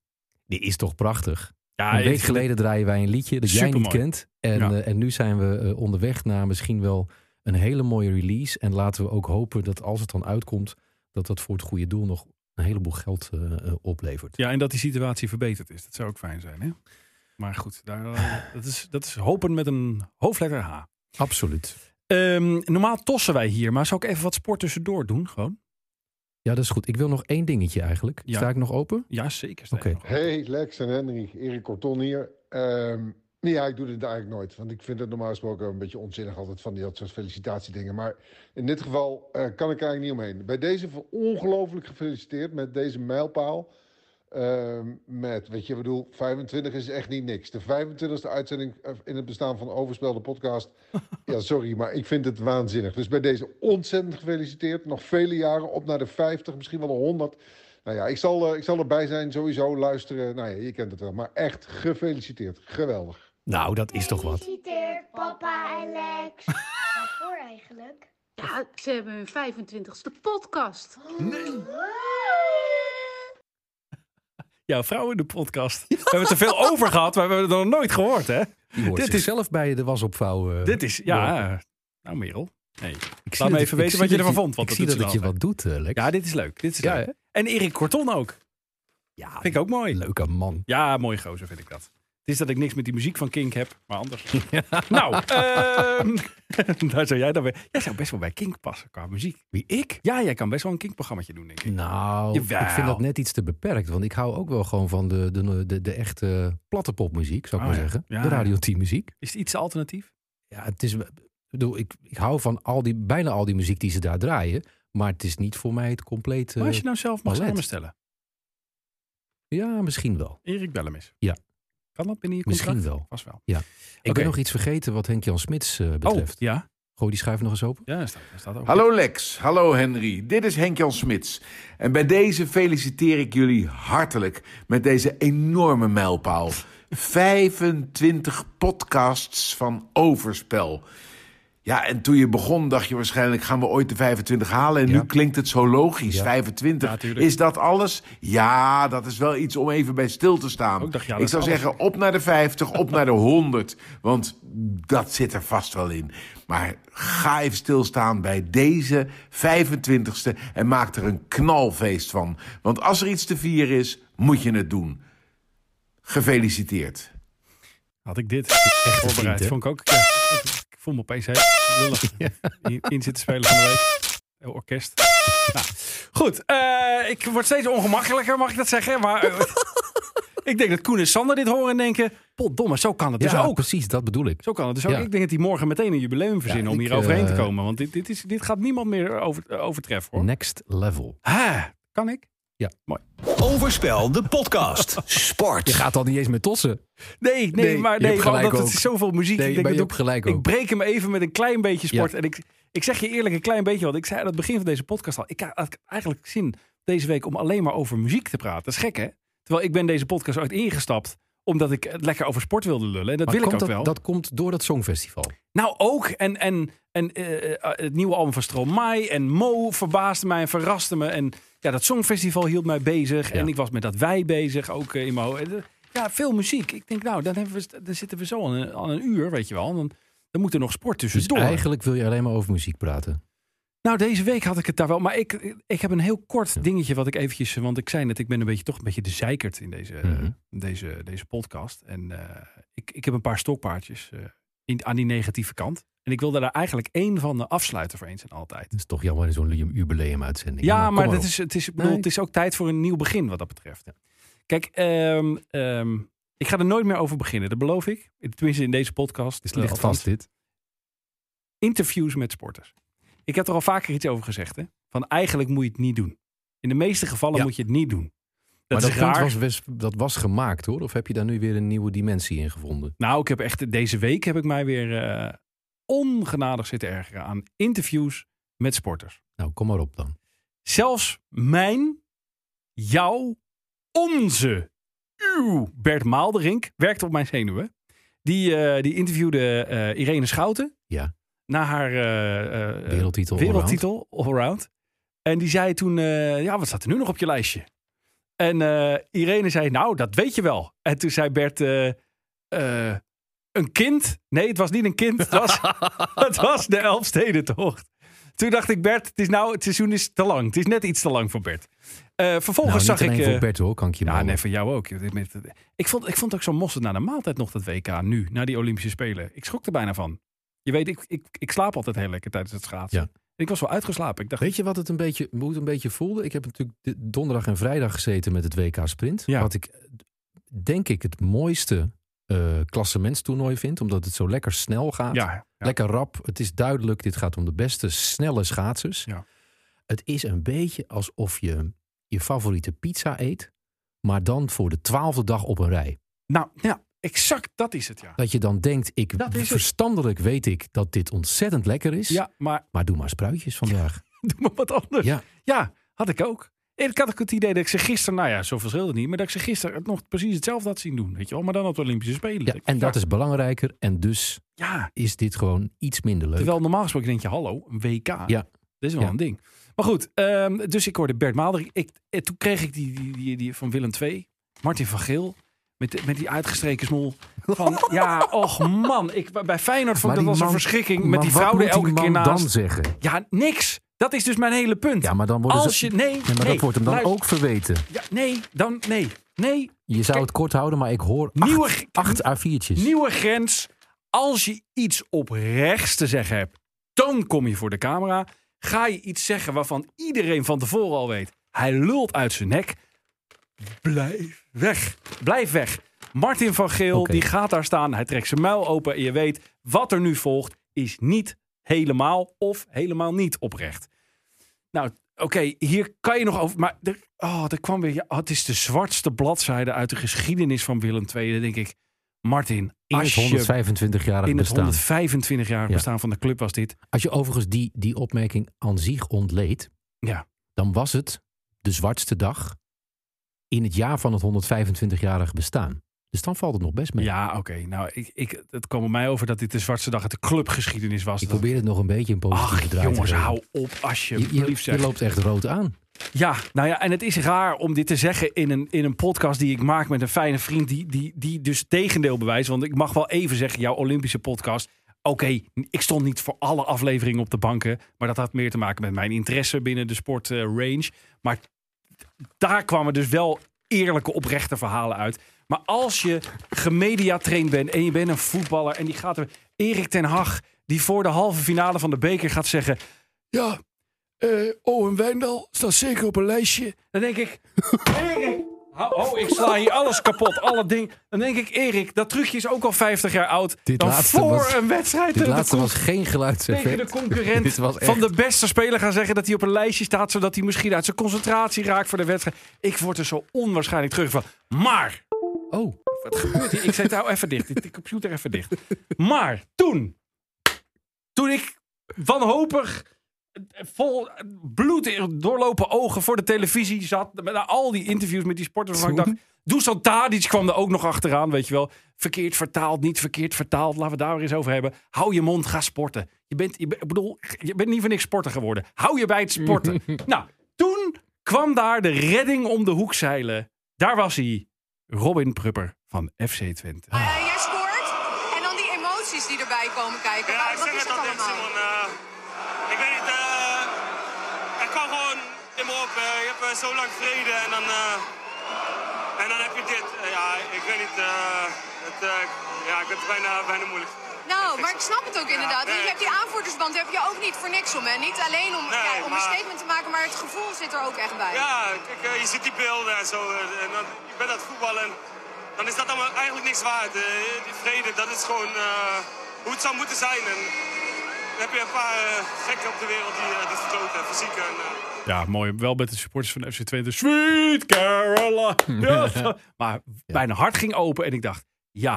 Speaker 4: die is toch prachtig.
Speaker 3: Ja,
Speaker 4: een week
Speaker 3: ik-
Speaker 4: geleden draaien wij een liedje dat jij niet
Speaker 3: Ah, Supermooi.
Speaker 4: kent. En,
Speaker 3: Ja.
Speaker 4: eh, en nu zijn we eh, onderweg naar misschien wel een hele mooie release. En laten we ook hopen dat als het dan uitkomt, dat dat voor het goede doel nog een heleboel geld eh, eh, oplevert.
Speaker 3: Ja, en dat die situatie verbeterd is. Dat zou ook fijn zijn, hè? Maar goed, daar,
Speaker 4: [LAUGHS]
Speaker 3: eh, dat, is, dat is hopen met een hoofdletter H.
Speaker 4: Absoluut.
Speaker 3: Ehm, normaal tossen wij hier, maar zou ik even wat sport tussendoor doen? Gewoon?
Speaker 4: Ja, dat is goed. Ik wil nog één dingetje eigenlijk.
Speaker 3: Ja.
Speaker 4: Sta ik nog open?
Speaker 3: Ja, zeker.
Speaker 4: Oké.
Speaker 12: Hey, Lex en Henry, Erik Corton hier. Ehm, nee, ja, ik doe dit eigenlijk nooit. Want ik vind het normaal gesproken een beetje onzinnig altijd van die, dat soort felicitatiedingen. Maar in dit geval eh, kan ik er eigenlijk niet omheen. Bij deze voor- ongelooflijk gefeliciteerd met deze mijlpaal. Ehm, met, weet je, ik bedoel, 25 is echt niet niks. De 25e uitzending eh, in het bestaan van Overspel, de podcast. Ja, sorry, maar ik vind het waanzinnig. Dus bij deze ontzettend gefeliciteerd. Nog vele jaren op naar de 50, misschien wel de 100. Nou ja, ik zal, eh, ik zal erbij zijn, sowieso luisteren. Nou ja, je kent het wel. Maar echt gefeliciteerd. Geweldig.
Speaker 4: Nou, dat is toch wat.
Speaker 15: Gefeliciteerd, papa en
Speaker 16: [LAUGHS]
Speaker 15: Lex. Waarvoor eigenlijk?
Speaker 16: Ja, ze hebben hun 25ste podcast.
Speaker 3: Ja, vrouwen in de
Speaker 4: [LAUGHS]
Speaker 3: podcast. We hebben het er veel over gehad, maar we hebben het nog nooit gehoord, hè?
Speaker 4: Dit is zelf bij de eh, was opvouwen.
Speaker 3: Dit is, ja. Nou, Merel. Nee. Laat me even weten wat je ervan vond. Want
Speaker 4: ik zie
Speaker 3: doet
Speaker 4: dat,
Speaker 3: ze
Speaker 4: het je
Speaker 3: wel
Speaker 4: wat doet, eh, Lex.
Speaker 3: Ja, dit is leuk. Dit is leuk. En Erik Korton ook. Ja, vind ik ook mooi.
Speaker 4: Leuke man.
Speaker 3: Ja, mooi gozer vind ik dat. Het is dat ik niks met die muziek van Kink heb, maar [LAUGHS] anders. nou, ehm, [LAUGHS] daar zou jij dan weer. Jij zou best wel bij Kink passen qua muziek. Wie ik? Ja, jij kan best wel een Kink-programmaatje doen, denk ik.
Speaker 4: Nou,
Speaker 3: Jawel.
Speaker 4: ik vind dat net iets te beperkt. Want ik hou ook wel gewoon van de, de, de, de echte platte popmuziek, zou ik
Speaker 3: Oh,
Speaker 4: maar
Speaker 3: ja.
Speaker 4: zeggen.
Speaker 3: Ja,
Speaker 4: De
Speaker 3: ja.
Speaker 4: Radio 10 muziek.
Speaker 3: Is het iets alternatief?
Speaker 4: Ja, het is, ik bedoel, ik, ik hou van al die, bijna al die muziek die ze daar draaien. Maar het is niet voor mij het complete
Speaker 3: maar als je nou zelf mag
Speaker 4: palet.
Speaker 3: samenstellen.
Speaker 4: Ja, misschien wel.
Speaker 3: Erik, bel hem eens.
Speaker 4: Ja,
Speaker 3: Kan dat binnen je contract?
Speaker 4: misschien wel.
Speaker 3: Vast wel.
Speaker 4: Ja. Ik
Speaker 3: Oké. Oh,
Speaker 4: ben nog iets vergeten wat Henk-Jan Smits eh, betreft.
Speaker 3: ja.
Speaker 4: Gooi die schuif nog eens open.
Speaker 3: Ja, daar staat, daar staat ook.
Speaker 17: Hallo Lex, hallo Henry. Dit is Henk-Jan Smits. En bij deze feliciteer ik jullie hartelijk met deze enorme mijlpaal. 25 podcasts van Overspel. Ja, en toen je begon dacht je waarschijnlijk gaan we ooit de 25 halen. En nu klinkt het zo logisch, 25. is dat alles? Ja, dat is wel iets om even bij stil te staan.
Speaker 3: ja, dat
Speaker 17: ik
Speaker 3: is
Speaker 17: zou
Speaker 3: alles.
Speaker 17: zeggen, op naar de 50, op naar de 100. Want dat zit er vast wel in. Maar ga even stilstaan bij deze 25ste en maak er een knalfeest van. Want als er iets te vieren is, moet je het doen. Gefeliciteerd.
Speaker 3: Had ik dit echt voorbereid.
Speaker 17: vriend, hè?
Speaker 3: Vond ik ook. ja, ik voel me opeens heel
Speaker 4: [LAUGHS]
Speaker 3: lullig. In, in zitten spelen van de week. Heel orkest. Nou, goed, eh, ik word steeds ongemakkelijker, mag ik dat zeggen? Maar
Speaker 4: [LAUGHS]
Speaker 3: eh, ik denk dat Koen en Sander dit horen en denken... Potdomme, zo kan het dus
Speaker 4: ja,
Speaker 3: ook.
Speaker 4: ah, precies, dat bedoel ik.
Speaker 3: Zo kan het dus ook.
Speaker 4: Ja.
Speaker 3: Ik denk dat die morgen meteen een jubileum verzinnen om
Speaker 4: ik,
Speaker 3: hier overheen te
Speaker 4: eh, Mm.
Speaker 3: komen. Want dit, dit, is, dit gaat niemand meer over, eh, overtreffen hoor.
Speaker 4: Next level.
Speaker 3: Ha, kan ik?
Speaker 4: Ja.
Speaker 3: Mooi.
Speaker 1: Overspel, de podcast. Sport.
Speaker 4: Je gaat al niet eens met tossen.
Speaker 3: Nee, nee,
Speaker 4: Nee,
Speaker 3: maar
Speaker 4: je
Speaker 3: nee,
Speaker 4: hebt gelijk
Speaker 3: want het
Speaker 4: ook.
Speaker 3: is zoveel muziek.
Speaker 4: Nee,
Speaker 3: ik denk
Speaker 4: maar je
Speaker 3: dat
Speaker 4: hebt gelijk
Speaker 3: ik
Speaker 4: ook.
Speaker 3: breek hem even met een klein beetje sport.
Speaker 4: Ja.
Speaker 3: En ik, ik zeg je eerlijk, een klein beetje. Want ik zei aan het begin van deze podcast al. Ik had eigenlijk zin deze week om alleen maar over muziek te praten. Dat is gek, hè? Terwijl ik ben deze podcast ooit ingestapt omdat ik het lekker over sport wilde lullen. En dat
Speaker 4: Maar
Speaker 3: wil ik ook
Speaker 4: komt dat,
Speaker 3: wel.
Speaker 4: Dat komt door dat Songfestival.
Speaker 3: Nou, ook. En, en, en eh, eh, het nieuwe album van Stromae en Mo verbaasde mij en verraste me. En ja, dat Songfestival hield mij bezig. En ik was met dat wij bezig, ook eh, in mijn hoofd. Eh, Ja, veel muziek. Ik denk, nou, dan, hebben we, dan zitten we zo aan een, aan een uur, weet je wel. En dan, dan moet er nog sport
Speaker 4: Dus
Speaker 3: tussendoor.
Speaker 4: eigenlijk wil je alleen maar over muziek praten.
Speaker 3: Nou, deze week had ik het daar wel. Maar ik, ik heb een heel kort dingetje wat ik eventjes... Want ik zei net, ik ben een beetje, toch een beetje de zeikert in deze,
Speaker 4: Mhm.
Speaker 3: deze, deze podcast. En eh, ik, ik heb een paar stokpaardjes eh, in, aan die negatieve kant. En ik wilde daar eigenlijk één van de afsluiten voor eens en altijd.
Speaker 4: Dat is toch jammer in zo'n ju- jubileumuitzending. Nou,
Speaker 3: Ja,
Speaker 4: kom
Speaker 3: maar dat
Speaker 4: op.
Speaker 3: is, het, is, ik bedoel, het is ook tijd voor een nieuw begin wat dat betreft. Kijk, ehm, ehm, ik ga er nooit meer over beginnen, dat beloof ik. Tenminste in deze podcast.
Speaker 4: Het ligt
Speaker 3: eh, althans.
Speaker 4: vast dit.
Speaker 3: Interviews met sporters. Ik heb er al vaker iets over gezegd. Hè? Van eigenlijk moet je het niet doen. In de meeste gevallen moet je het niet doen. Dat
Speaker 4: maar
Speaker 3: is
Speaker 4: dat punt
Speaker 3: raar.
Speaker 4: was, best- dat was gemaakt hoor. Of heb je daar nu weer een nieuwe dimensie in gevonden?
Speaker 3: Nou, ik heb echt deze week heb ik mij weer eh, ongenadig zitten ergeren aan interviews met sporters.
Speaker 4: Nou, kom maar op dan.
Speaker 3: Zelfs mijn, jouw, onze, uw Bert Maalderink werkte op mijn zenuwen. Die, eh, die interviewde eh, Irene Schouten
Speaker 4: Ja.
Speaker 3: na haar eh, eh,
Speaker 4: Wereldtitel
Speaker 3: wereldtitel allround. En die zei toen, eh, ja, wat staat er nu nog op je lijstje? En eh, Irene zei, nou, dat weet je wel. En toen zei Bert, eh, eh, een kind. Nee, het was niet een kind. Het
Speaker 4: [LAUGHS]
Speaker 3: was, het was de Elfstedentocht. Toen dacht ik, Bert, het, is nou, het seizoen is te lang. Het is net iets te lang voor Bert. Eh,
Speaker 4: Nou,
Speaker 3: vervolgens
Speaker 4: niet
Speaker 3: zag ik...
Speaker 4: alleen
Speaker 3: eh,
Speaker 4: voor Bert hoor, kan ik je
Speaker 3: ja,
Speaker 4: melden.
Speaker 3: nee, voor jou ook. Ik vond, ik vond het ook zo mossend na de maaltijd nog dat WK nu, na die Olympische Spelen. Ik schrok er bijna van. Je weet, ik, ik, ik slaap altijd heel lekker tijdens het schaatsen.
Speaker 4: Ja.
Speaker 3: Ik was wel uitgeslapen. Ik dacht,
Speaker 4: Weet je wat het een beetje, hoe het een beetje voelde? Ik heb natuurlijk d- donderdag en vrijdag gezeten met het WK Sprint. Wat ik denk ik het mooiste eh klassementstoernooi vind. Omdat het zo lekker snel gaat.
Speaker 3: Ja, ja.
Speaker 4: Lekker rap. Het is duidelijk. Dit gaat om de beste snelle schaatsers. Het is een beetje alsof je je favoriete pizza eet. Maar dan voor de twaalfde dag op een rij.
Speaker 3: nou, ja, exact dat is het, ja.
Speaker 4: Dat je dan denkt, ik,
Speaker 3: Dat is het.
Speaker 4: verstandelijk weet ik dat dit ontzettend lekker is.
Speaker 3: Ja, maar... [LAUGHS]
Speaker 4: maar doe maar spruitjes vandaag.
Speaker 3: Doe maar wat anders.
Speaker 4: Ja.
Speaker 3: Ja, had ik ook. Ik had ook het idee dat ik ze gisteren, nou ja, zo verschilde het niet, maar dat ik ze gisteren het nog precies hetzelfde had zien doen. Weet je wel, maar dan op de Olympische Spelen.
Speaker 4: Ja, en dat is belangrijker. En dus
Speaker 3: Ja.
Speaker 4: is dit gewoon iets minder leuk.
Speaker 3: Terwijl normaal gesproken denk je, hallo, een WK.
Speaker 4: Ja.
Speaker 3: Dit is wel
Speaker 4: Ja.
Speaker 3: een ding. Maar goed, ehm, dus ik hoorde Bert Maalder. Ik, eh, toen kreeg ik die, die, die, die van Willem II, Martin van Geel. Met, met die uitgestreken smoel.
Speaker 4: [LAUGHS]
Speaker 3: Van, ja, och man. Ik, bij Feyenoord vond ik dat
Speaker 4: die
Speaker 3: was een
Speaker 4: man-
Speaker 3: verschrikking.
Speaker 4: maar
Speaker 3: Met die
Speaker 4: wat
Speaker 3: fraude
Speaker 4: moet die
Speaker 3: elke keer
Speaker 4: man
Speaker 3: naast.
Speaker 4: dan zeggen?
Speaker 3: Ja, niks. Dat is dus mijn hele punt. Ja,
Speaker 4: maar dan worden
Speaker 3: Als
Speaker 4: ze-
Speaker 3: je, nee,
Speaker 4: Ja, maar
Speaker 3: nee,
Speaker 4: dat wordt hem dan
Speaker 3: luister.
Speaker 4: ook verweten.
Speaker 3: Ja, nee, dan, nee, nee.
Speaker 4: Je zou het kort houden, maar ik hoor
Speaker 3: Nieuwe
Speaker 4: acht,
Speaker 3: g-
Speaker 4: acht A4'tjes.
Speaker 3: Nieuwe grens. Als je iets oprechts te zeggen hebt, dan kom je voor de camera. Ga je iets zeggen waarvan iedereen van tevoren al weet. Hij lult uit zijn nek. Blijf weg. Blijf weg. Martin van Geel, die gaat daar staan. Hij trekt zijn muil open. En je weet, wat er nu volgt, is niet helemaal of helemaal niet oprecht. Nou, oké, hier kan je nog over. Maar er, oh, er kwam weer. ja, oh, het is de zwartste bladzijde uit de geschiedenis van Willem II. Dan denk ik, Martin,
Speaker 4: In het
Speaker 3: als je-
Speaker 4: 125-jarig
Speaker 3: in het
Speaker 4: bestaan.
Speaker 3: 125 jaar
Speaker 4: Ja.
Speaker 3: bestaan van de club was dit.
Speaker 4: Als je overigens die, die opmerking aan zich ontleed,
Speaker 3: Ja.
Speaker 4: dan was het de zwartste dag in het jaar van het 125-jarig bestaan. Dus dan valt het nog best mee.
Speaker 3: Ja, oké. Nou, ik, ik, het kwam op mij over dat dit de zwartste dag uit de clubgeschiedenis was.
Speaker 4: Ik probeer het nog een beetje in positieve
Speaker 3: Ach,
Speaker 4: draai te
Speaker 3: jongens,
Speaker 4: brengen.
Speaker 3: hou op alsjeblieft.
Speaker 4: Je, je,
Speaker 3: zeg.
Speaker 4: je loopt echt
Speaker 3: [LAUGHS]
Speaker 4: rood aan.
Speaker 3: Ja, nou ja, en het is raar om dit te zeggen in een, in een podcast die ik maak met een fijne vriend die, die, die dus tegendeel bewijst. Want ik mag wel even zeggen, jouw Olympische podcast. Oké, ik stond niet voor alle afleveringen op de banken, maar dat had meer te maken met mijn interesse binnen de sportrange. maar daar kwamen dus wel eerlijke, oprechte verhalen uit. Maar als je gemediatraind bent en je bent een voetballer en die gaat er... Erik ten Hag, die voor de halve finale van de beker gaat zeggen... Ja, eh Owen Wijndal staat zeker op een lijstje. Dan denk ik... Erik! hou- Oh, ik sla hier alles kapot, alle dingen. Dan denk ik, Erik, dat trucje is ook al 50 jaar oud.
Speaker 4: Dit
Speaker 3: dan
Speaker 4: laatste
Speaker 3: voor
Speaker 4: was-
Speaker 3: een wedstrijd
Speaker 4: Dit
Speaker 3: tegen de
Speaker 4: laatste
Speaker 3: Koen-
Speaker 4: was geen geluidseffect.
Speaker 3: tegen de concurrent
Speaker 4: eh, [LAUGHS] Dit was echt...
Speaker 3: van de beste speler gaan zeggen dat hij op een lijstje staat, zodat hij misschien uit zijn concentratie raakt voor de wedstrijd. Ik word er zo onwaarschijnlijk terug van. Maar.
Speaker 4: Oh.
Speaker 3: Wat gebeurt hier? Ik zet nou even dicht. De computer even dicht. Maar toen. Toen ik wanhopig. eh, Vol bloed in- doorlopen ogen voor de televisie zat. Met al die interviews met die sporters. Waarvan ik dacht. Dusan Tadic kwam er ook nog achteraan. Weet je wel. Verkeerd vertaald, niet verkeerd vertaald. Laten we het daar weer eens over hebben. Hou je mond, ga sporten. Je bent, je, bent- ik bedoel, je bent niet voor niks sporter geworden. Hou je bij het sporten. nou, toen kwam daar de redding om de hoek zeilen. Daar was hij. Robin Prupper van FC Twente.
Speaker 18: Eh, jij scoort en dan die emoties die erbij komen kijken.
Speaker 19: Ja,
Speaker 18: Wat-
Speaker 19: ik
Speaker 18: wat
Speaker 19: zeg
Speaker 18: is
Speaker 19: het
Speaker 18: het
Speaker 19: altijd,
Speaker 18: allemaal?
Speaker 19: Simon. eh, ik weet niet, eh, er kwam gewoon in me op. eh, je hebt eh, zo lang vrede en dan, eh, en dan heb je dit. Eh, ja, ik weet niet, eh, het, eh, ja, ik vind het bijna, bijna moeilijk.
Speaker 18: Nou, maar ik snap het ook inderdaad.
Speaker 19: Ja,
Speaker 18: Want je
Speaker 19: nee.
Speaker 18: hebt die aanvoerdersband heb je ook niet voor niks om. Hè? Niet alleen om,
Speaker 19: Nee,
Speaker 18: ja, om een
Speaker 19: maar-
Speaker 18: statement te maken, maar het gevoel zit er ook echt bij.
Speaker 19: Ja, kijk, eh, je ziet die beelden en zo. eh, en dan, je bent aan het voetballen en dan is dat allemaal eigenlijk niks waard. Eh, die vrede, dat is gewoon eh, hoe het zou moeten zijn. En dan heb je een paar eh, gekken op de wereld die eh, dit verkloten, fysiek en... eh,
Speaker 3: Ja, mooi. Wel met de supporters van FC Twente. Sweet
Speaker 4: [LAUGHS]
Speaker 3: Caroline. Ja. maar mijn hart ging open en ik dacht... Ja,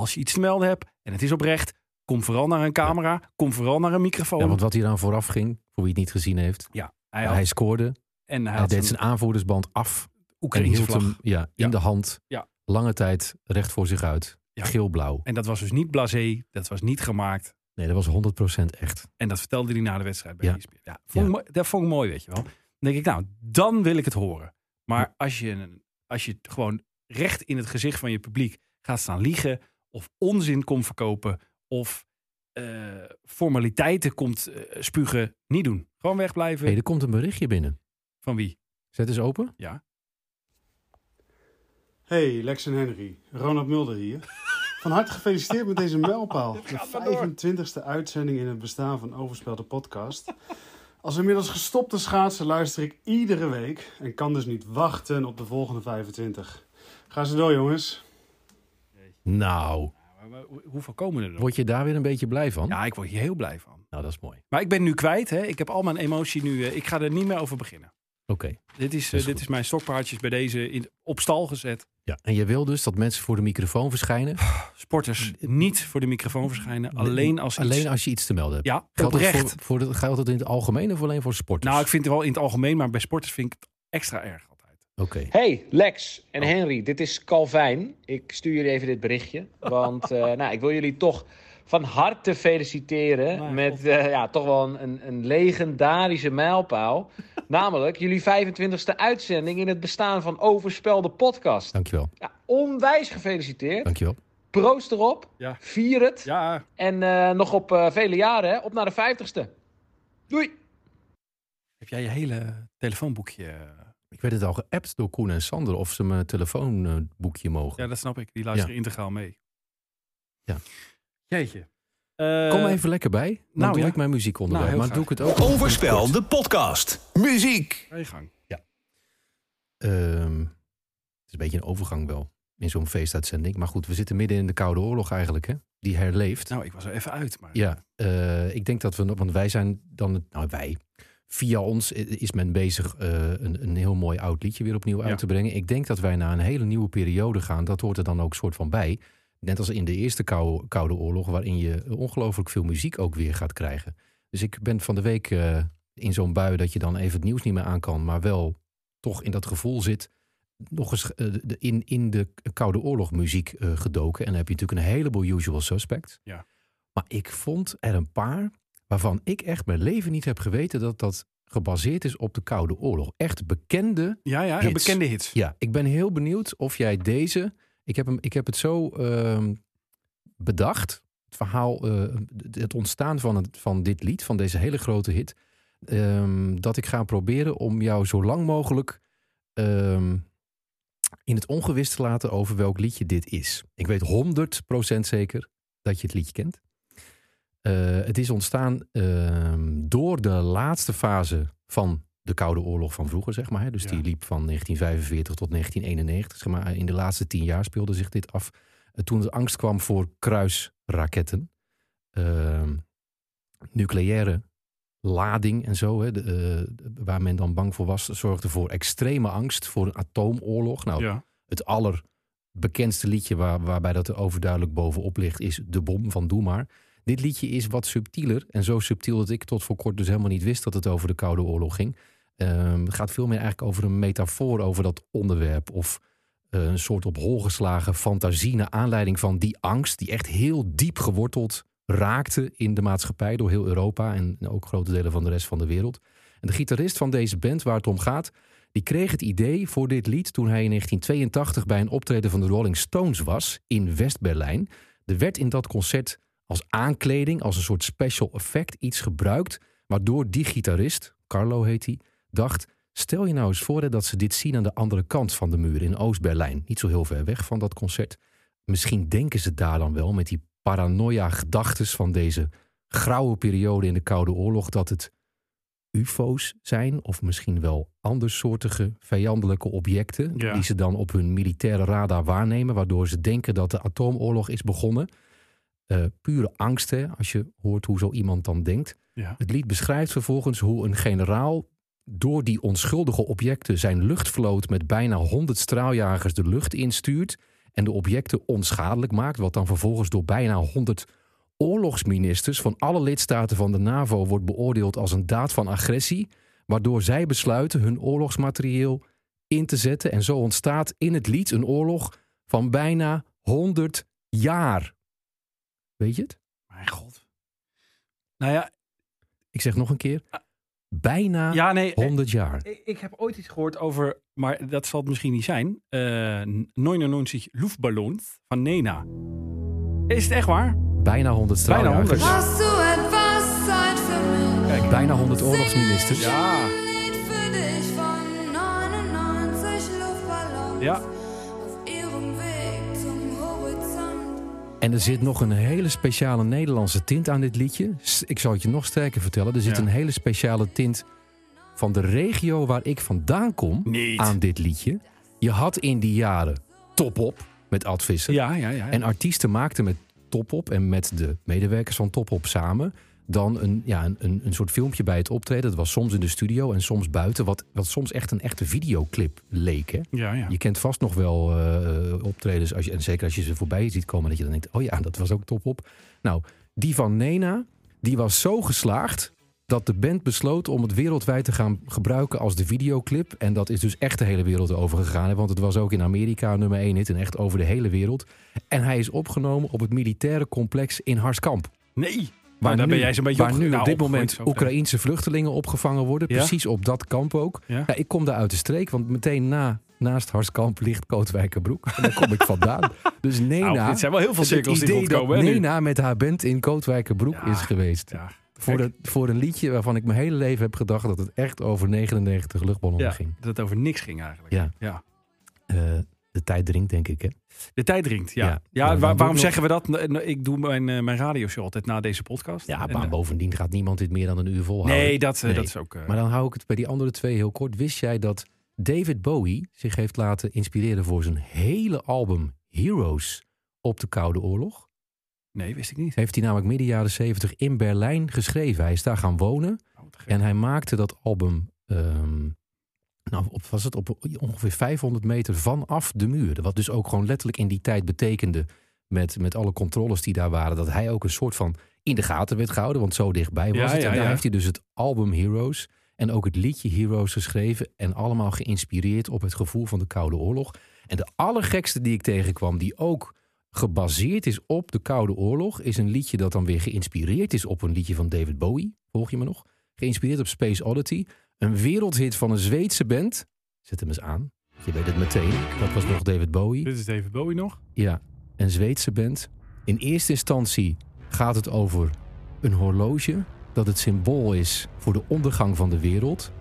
Speaker 3: als je iets te melden hebt en het is oprecht... Kom vooral naar een camera. Kom vooral naar een microfoon.
Speaker 4: Ja, want wat hier aan vooraf ging, voor wie het niet gezien heeft.
Speaker 3: Ja, Oh. hij
Speaker 4: hij,
Speaker 3: had-
Speaker 4: scoorde.
Speaker 3: En hij
Speaker 4: hij
Speaker 3: had
Speaker 4: deed
Speaker 3: zijn-
Speaker 4: zijn aanvoerdersband af.
Speaker 3: Oekraïense
Speaker 4: en hield
Speaker 3: vlag.
Speaker 4: hem ja, in de hand.
Speaker 3: Ja.
Speaker 4: Lange tijd recht voor zich uit.
Speaker 3: Ja.
Speaker 4: Geel-blauw.
Speaker 3: En dat was dus niet blasé. Dat was niet gemaakt.
Speaker 4: Nee, dat was 100% echt.
Speaker 3: En dat vertelde hij na de wedstrijd bij E
Speaker 4: Ja.
Speaker 3: ESPN. Ja, vond ik mooi- dat vond ik mooi, weet je wel. Dan denk ik, nou, dan wil ik het horen. Maar als je, een- als je gewoon recht in het gezicht van je publiek gaat staan liegen... of onzin komt verkopen of eh, formaliteiten komt eh, spugen, niet doen. Gewoon wegblijven.
Speaker 4: hey, er komt een berichtje binnen.
Speaker 3: Van wie?
Speaker 4: Zet eens open.
Speaker 3: Ja.
Speaker 20: Hey, Lex en Henry. Ronald Mulder hier. Van harte gefeliciteerd met deze mijlpaal. De 25e uitzending in het bestaan van Overspel de podcast. Als inmiddels gestopte schaatsen luister ik iedere week en kan dus niet wachten op de volgende 25. Ga ze door, jongens.
Speaker 4: Nou,
Speaker 3: Hoeveel komen er nog?
Speaker 4: word je daar weer een beetje blij van?
Speaker 3: Ja, ik word hier heel blij van.
Speaker 4: Nou, dat is mooi.
Speaker 3: Maar ik ben nu kwijt. Hè? Ik heb al mijn emotie nu. eh, ik ga er niet meer over beginnen.
Speaker 4: Oké.
Speaker 3: Dit is, eh,
Speaker 4: Dat
Speaker 3: dit
Speaker 4: is goed.
Speaker 3: is mijn stokpaardjes bij deze in, op stal gezet.
Speaker 4: Ja, en je wil dus dat mensen voor de microfoon verschijnen?
Speaker 3: Sporters niet voor de microfoon verschijnen. Alleen als iets-
Speaker 4: alleen als je iets te melden hebt.
Speaker 3: Ja,
Speaker 4: geldt dat,
Speaker 3: oprecht.
Speaker 4: voor, voor de- geldt dat in het algemeen of alleen voor sporters?
Speaker 3: Nou, ik vind het wel in het algemeen, maar bij sporters vind ik het extra erg.
Speaker 4: Oké.
Speaker 21: Hey, Lex
Speaker 3: Oh.
Speaker 21: en Henry, dit is Calvijn. Ik stuur jullie even dit berichtje. Want
Speaker 3: [LAUGHS]
Speaker 21: eh, nou, ik wil jullie toch van harte feliciteren
Speaker 3: Nou
Speaker 21: met eh, ja, toch wel een- een, een legendarische
Speaker 3: [LAUGHS]
Speaker 21: mijlpaal. Namelijk jullie 25e uitzending in het bestaan van Overspel de podcast.
Speaker 4: Dankjewel.
Speaker 21: Ja, onwijs gefeliciteerd.
Speaker 4: Dankjewel.
Speaker 21: Proost erop.
Speaker 3: Ja.
Speaker 21: Vier het.
Speaker 3: Ja.
Speaker 21: En eh, nog op eh, vele jaren, hè, op naar de 50ste. Doei.
Speaker 3: Heb jij je hele telefoonboekje? eh,
Speaker 4: Ik werd het al geappt door Koen en Sander of ze mijn telefoonboekje mogen.
Speaker 3: Ja, dat snap ik. Die luisteren integraal mee.
Speaker 4: Ja.
Speaker 3: Jeetje.
Speaker 4: Kom even lekker bij. Dan
Speaker 3: nou
Speaker 4: doe
Speaker 3: ja.
Speaker 4: ik mijn muziek onder.
Speaker 3: Nou, heel
Speaker 4: maar doe ik
Speaker 3: graag.
Speaker 4: het ook.
Speaker 3: Overspel,
Speaker 4: de podcast.
Speaker 17: Muziek.
Speaker 3: Ga je gang.
Speaker 4: Ehm, het is een beetje een overgang wel. In zo'n feestuitzending. Maar goed, we zitten midden in de Koude Oorlog eigenlijk. Hè? Die herleeft.
Speaker 3: Nou, ik was er even uit. Maar...
Speaker 4: Ja, eh, ik denk dat we, want wij zijn dan, nou wij, via ons i- is men bezig eh, een, een heel mooi oud liedje weer opnieuw
Speaker 3: Ja.
Speaker 4: uit te brengen. Ik denk dat wij naar een hele nieuwe periode gaan. Dat hoort er dan ook soort van bij. Net als in de eerste Kou- Koude Oorlog, waarin je ongelooflijk veel muziek ook weer gaat krijgen. Dus ik ben van de week eh, in zo'n bui dat je dan even het nieuws niet meer aan kan, maar wel toch in dat gevoel zit. Nog eens eh, de- in, in de Koude Oorlog muziek eh, gedoken. En dan heb je natuurlijk een heleboel usual suspects.
Speaker 3: Ja.
Speaker 4: Maar ik vond er een paar waarvan ik echt mijn leven niet heb geweten dat dat gebaseerd is op de Koude Oorlog. Echt bekende
Speaker 3: Ja, ja,
Speaker 4: hits.
Speaker 3: bekende hits.
Speaker 4: Ja, ik ben heel benieuwd of jij deze... Ik heb, hem, ik heb het zo ehm, bedacht. Het verhaal, eh, het ontstaan van, het, van dit lied, van deze hele grote hit. ehm, dat ik ga proberen om jou zo lang mogelijk ehm, in het ongewis te laten over welk liedje dit is. Ik weet 100% zeker dat je het liedje kent. Eh, het is ontstaan ehm, door de laatste fase van de Koude Oorlog van vroeger, zeg maar. Hè. Dus die liep van 1945 tot 1991. Zeg maar. In de laatste tien jaar speelde zich dit af. Eh, toen de angst kwam voor kruisraketten. Ehm, nucleaire lading en zo, hè, de, eh, waar men dan bang voor was, zorgde voor extreme angst voor een atoomoorlog. Nou,
Speaker 3: Ja.
Speaker 4: het allerbekendste liedje waar, waarbij dat er overduidelijk bovenop ligt, is De Bom van Doe Maar. Dit liedje is wat subtieler en zo subtiel dat ik tot voor kort dus helemaal niet wist dat het over de Koude Oorlog ging. Ehm, Het gaat veel meer eigenlijk over een metafoor over dat onderwerp of eh, een soort op hol geslagen fantasie naar aanleiding van die angst die echt heel diep geworteld raakte in de maatschappij door heel Europa en ook grote delen van de rest van de wereld. En de gitarist van deze band waar het om gaat, die kreeg het idee voor dit lied toen hij in 1982 bij een optreden van de Rolling Stones was in West-Berlijn. Er werd in dat concert als aankleding, als een soort special effect iets gebruikt, waardoor die gitarist, Carlo heet hij, dacht: stel je nou eens voor hè, dat ze dit zien aan de andere kant van de muur in Oost-Berlijn, niet zo heel ver weg van dat concert. Misschien denken ze daar dan wel met die paranoia-gedachtes van deze grauwe periode in de Koude Oorlog dat het UFO's zijn, of misschien wel andersoortige vijandelijke objecten,
Speaker 3: Ja.
Speaker 4: die ze dan op hun militaire radar waarnemen, waardoor ze denken dat de atoomoorlog is begonnen. Eh, pure angst, hè, als je hoort hoe zo iemand dan denkt.
Speaker 3: Ja.
Speaker 4: Het lied beschrijft vervolgens hoe een generaal door die onschuldige objecten zijn luchtvloot met bijna 100 straaljagers de lucht instuurt en de objecten onschadelijk maakt, wat dan vervolgens door bijna 100 oorlogsministers van alle lidstaten van de NAVO wordt beoordeeld als een daad van agressie, waardoor zij besluiten hun oorlogsmaterieel in te zetten en zo ontstaat in het lied een oorlog van bijna 100 jaar. Weet je het?
Speaker 3: Mijn god. Nou ja,
Speaker 4: Ik zeg nog een keer. Bijna
Speaker 3: Ja, nee,
Speaker 4: 100 jaar.
Speaker 3: Ik, ik heb ooit iets gehoord over, maar dat zal het misschien niet zijn. Eh 99 Luftballons van Nena. Is het echt waar?
Speaker 4: Bijna 100 straaljagers.
Speaker 14: Hast du etwas Zeit für mich?
Speaker 4: Bijna 100 oorlogsministers.
Speaker 3: Ja.
Speaker 14: Lied für dich von 99 Luftballons
Speaker 3: Ja.
Speaker 14: auf ihrem Weg zum Horizont.
Speaker 4: En er zit nog een hele speciale Nederlandse tint aan dit liedje. S- Ik zal het je nog sterker vertellen. Er zit een hele speciale tint van de regio waar ik vandaan kom aan dit liedje. Je had in die jaren Top Op met Ad Visser.
Speaker 3: Ja, ja, ja.
Speaker 4: En artiesten maakten met Top Op en met de medewerkers van Top Op samen... dan een, ja, een- een, een soort filmpje bij het optreden. Dat was soms in de studio en soms buiten. Wat, wat soms echt een echte videoclip leek. Hè?
Speaker 3: Ja, ja.
Speaker 4: Je kent vast nog wel eh, optredens. Als je, en zeker als je ze voorbij ziet komen. Dat je dan denkt, oh ja, dat was ook top op. Nou, die van Nena, die was zo geslaagd. Dat de band besloot om het wereldwijd te gaan gebruiken als de videoclip. En dat is dus echt de hele wereld overgegaan. hè, Want het was ook in Amerika nummer 1 hit. En echt over de hele wereld. En hij is opgenomen op het militaire complex in Harskamp.
Speaker 3: Nee.
Speaker 4: Waar
Speaker 3: Nou, daar
Speaker 4: nu,
Speaker 3: ben jij zo'n beetje
Speaker 4: waar
Speaker 3: op-
Speaker 4: nu
Speaker 3: nou,
Speaker 4: op dit
Speaker 3: opgegroeid
Speaker 4: moment
Speaker 3: zo, ja.
Speaker 4: Oekraïense vluchtelingen opgevangen worden.
Speaker 3: Ja.
Speaker 4: Precies op dat kamp ook.
Speaker 3: Ja.
Speaker 4: Ja. ik kom daar uit de streek, want meteen na, naast Harskamp ligt Kootwijkerbroek. En daar kom ik
Speaker 3: [LAUGHS]
Speaker 4: vandaan. Dus Nena...
Speaker 3: Nou, dit zijn wel heel veel
Speaker 4: het
Speaker 3: cirkels die
Speaker 4: idee
Speaker 3: rondkomen,
Speaker 4: dat
Speaker 3: hè, nu.
Speaker 4: Nena met haar band in Kootwijkerbroek is geweest. voor, de, voor een liedje waarvan ik mijn hele leven heb gedacht... dat het echt over 99 luchtballonnen
Speaker 3: Ja,
Speaker 4: ging.
Speaker 3: dat het over niks ging eigenlijk.
Speaker 4: Ja.
Speaker 3: Ja.
Speaker 4: Eh, de tijd dringt, denk ik, hè?
Speaker 3: De tijd dringt, ja.
Speaker 4: Ja.
Speaker 3: Ja,
Speaker 4: Ja,
Speaker 3: waar-
Speaker 4: dan doe
Speaker 3: waarom
Speaker 4: ik nog-
Speaker 3: zeggen we dat? Nou, nou, Ik doe mijn, eh, mijn radioshow altijd na deze podcast.
Speaker 4: Ja,
Speaker 3: En,
Speaker 4: maar
Speaker 3: eh,
Speaker 4: bovendien gaat niemand dit meer dan een uur volhouden.
Speaker 3: Nee, dat, eh, dat is ook, eh,
Speaker 4: Maar dan hou ik het bij die andere twee heel kort. Wist jij dat David Bowie zich heeft laten inspireren voor zijn hele album Heroes op de Koude Oorlog?
Speaker 3: Nee, wist ik niet.
Speaker 4: Heeft hij namelijk midden jaren 70 in Berlijn geschreven. Hij is daar gaan wonen.
Speaker 3: Oh,
Speaker 4: en hij maakte dat album. ehm, nou, op, was het op ongeveer 500 meter vanaf de muur. Wat dus ook gewoon letterlijk in die tijd betekende. Met, met alle controles die daar waren. Dat hij ook een soort van in de gaten werd gehouden. Want zo dichtbij was
Speaker 3: Ja,
Speaker 4: het. En
Speaker 3: ja,
Speaker 4: daar
Speaker 3: ja.
Speaker 4: heeft hij dus het album Heroes. En ook het liedje Heroes geschreven. En allemaal geïnspireerd op het gevoel van de Koude Oorlog. En de allergekste die ik tegenkwam, die ook gebaseerd is op de Koude Oorlog, is een liedje dat dan weer geïnspireerd is op een liedje van David Bowie. Volg je me nog? Geïnspireerd op Space Oddity. Een wereldhit van een Zweedse band. Zet hem eens aan. Je weet het meteen. Dat was nog David Bowie.
Speaker 3: Dit is David Bowie nog.
Speaker 4: Ja, een Zweedse band. In eerste instantie gaat het over een horloge dat het symbool is voor de ondergang van de wereld.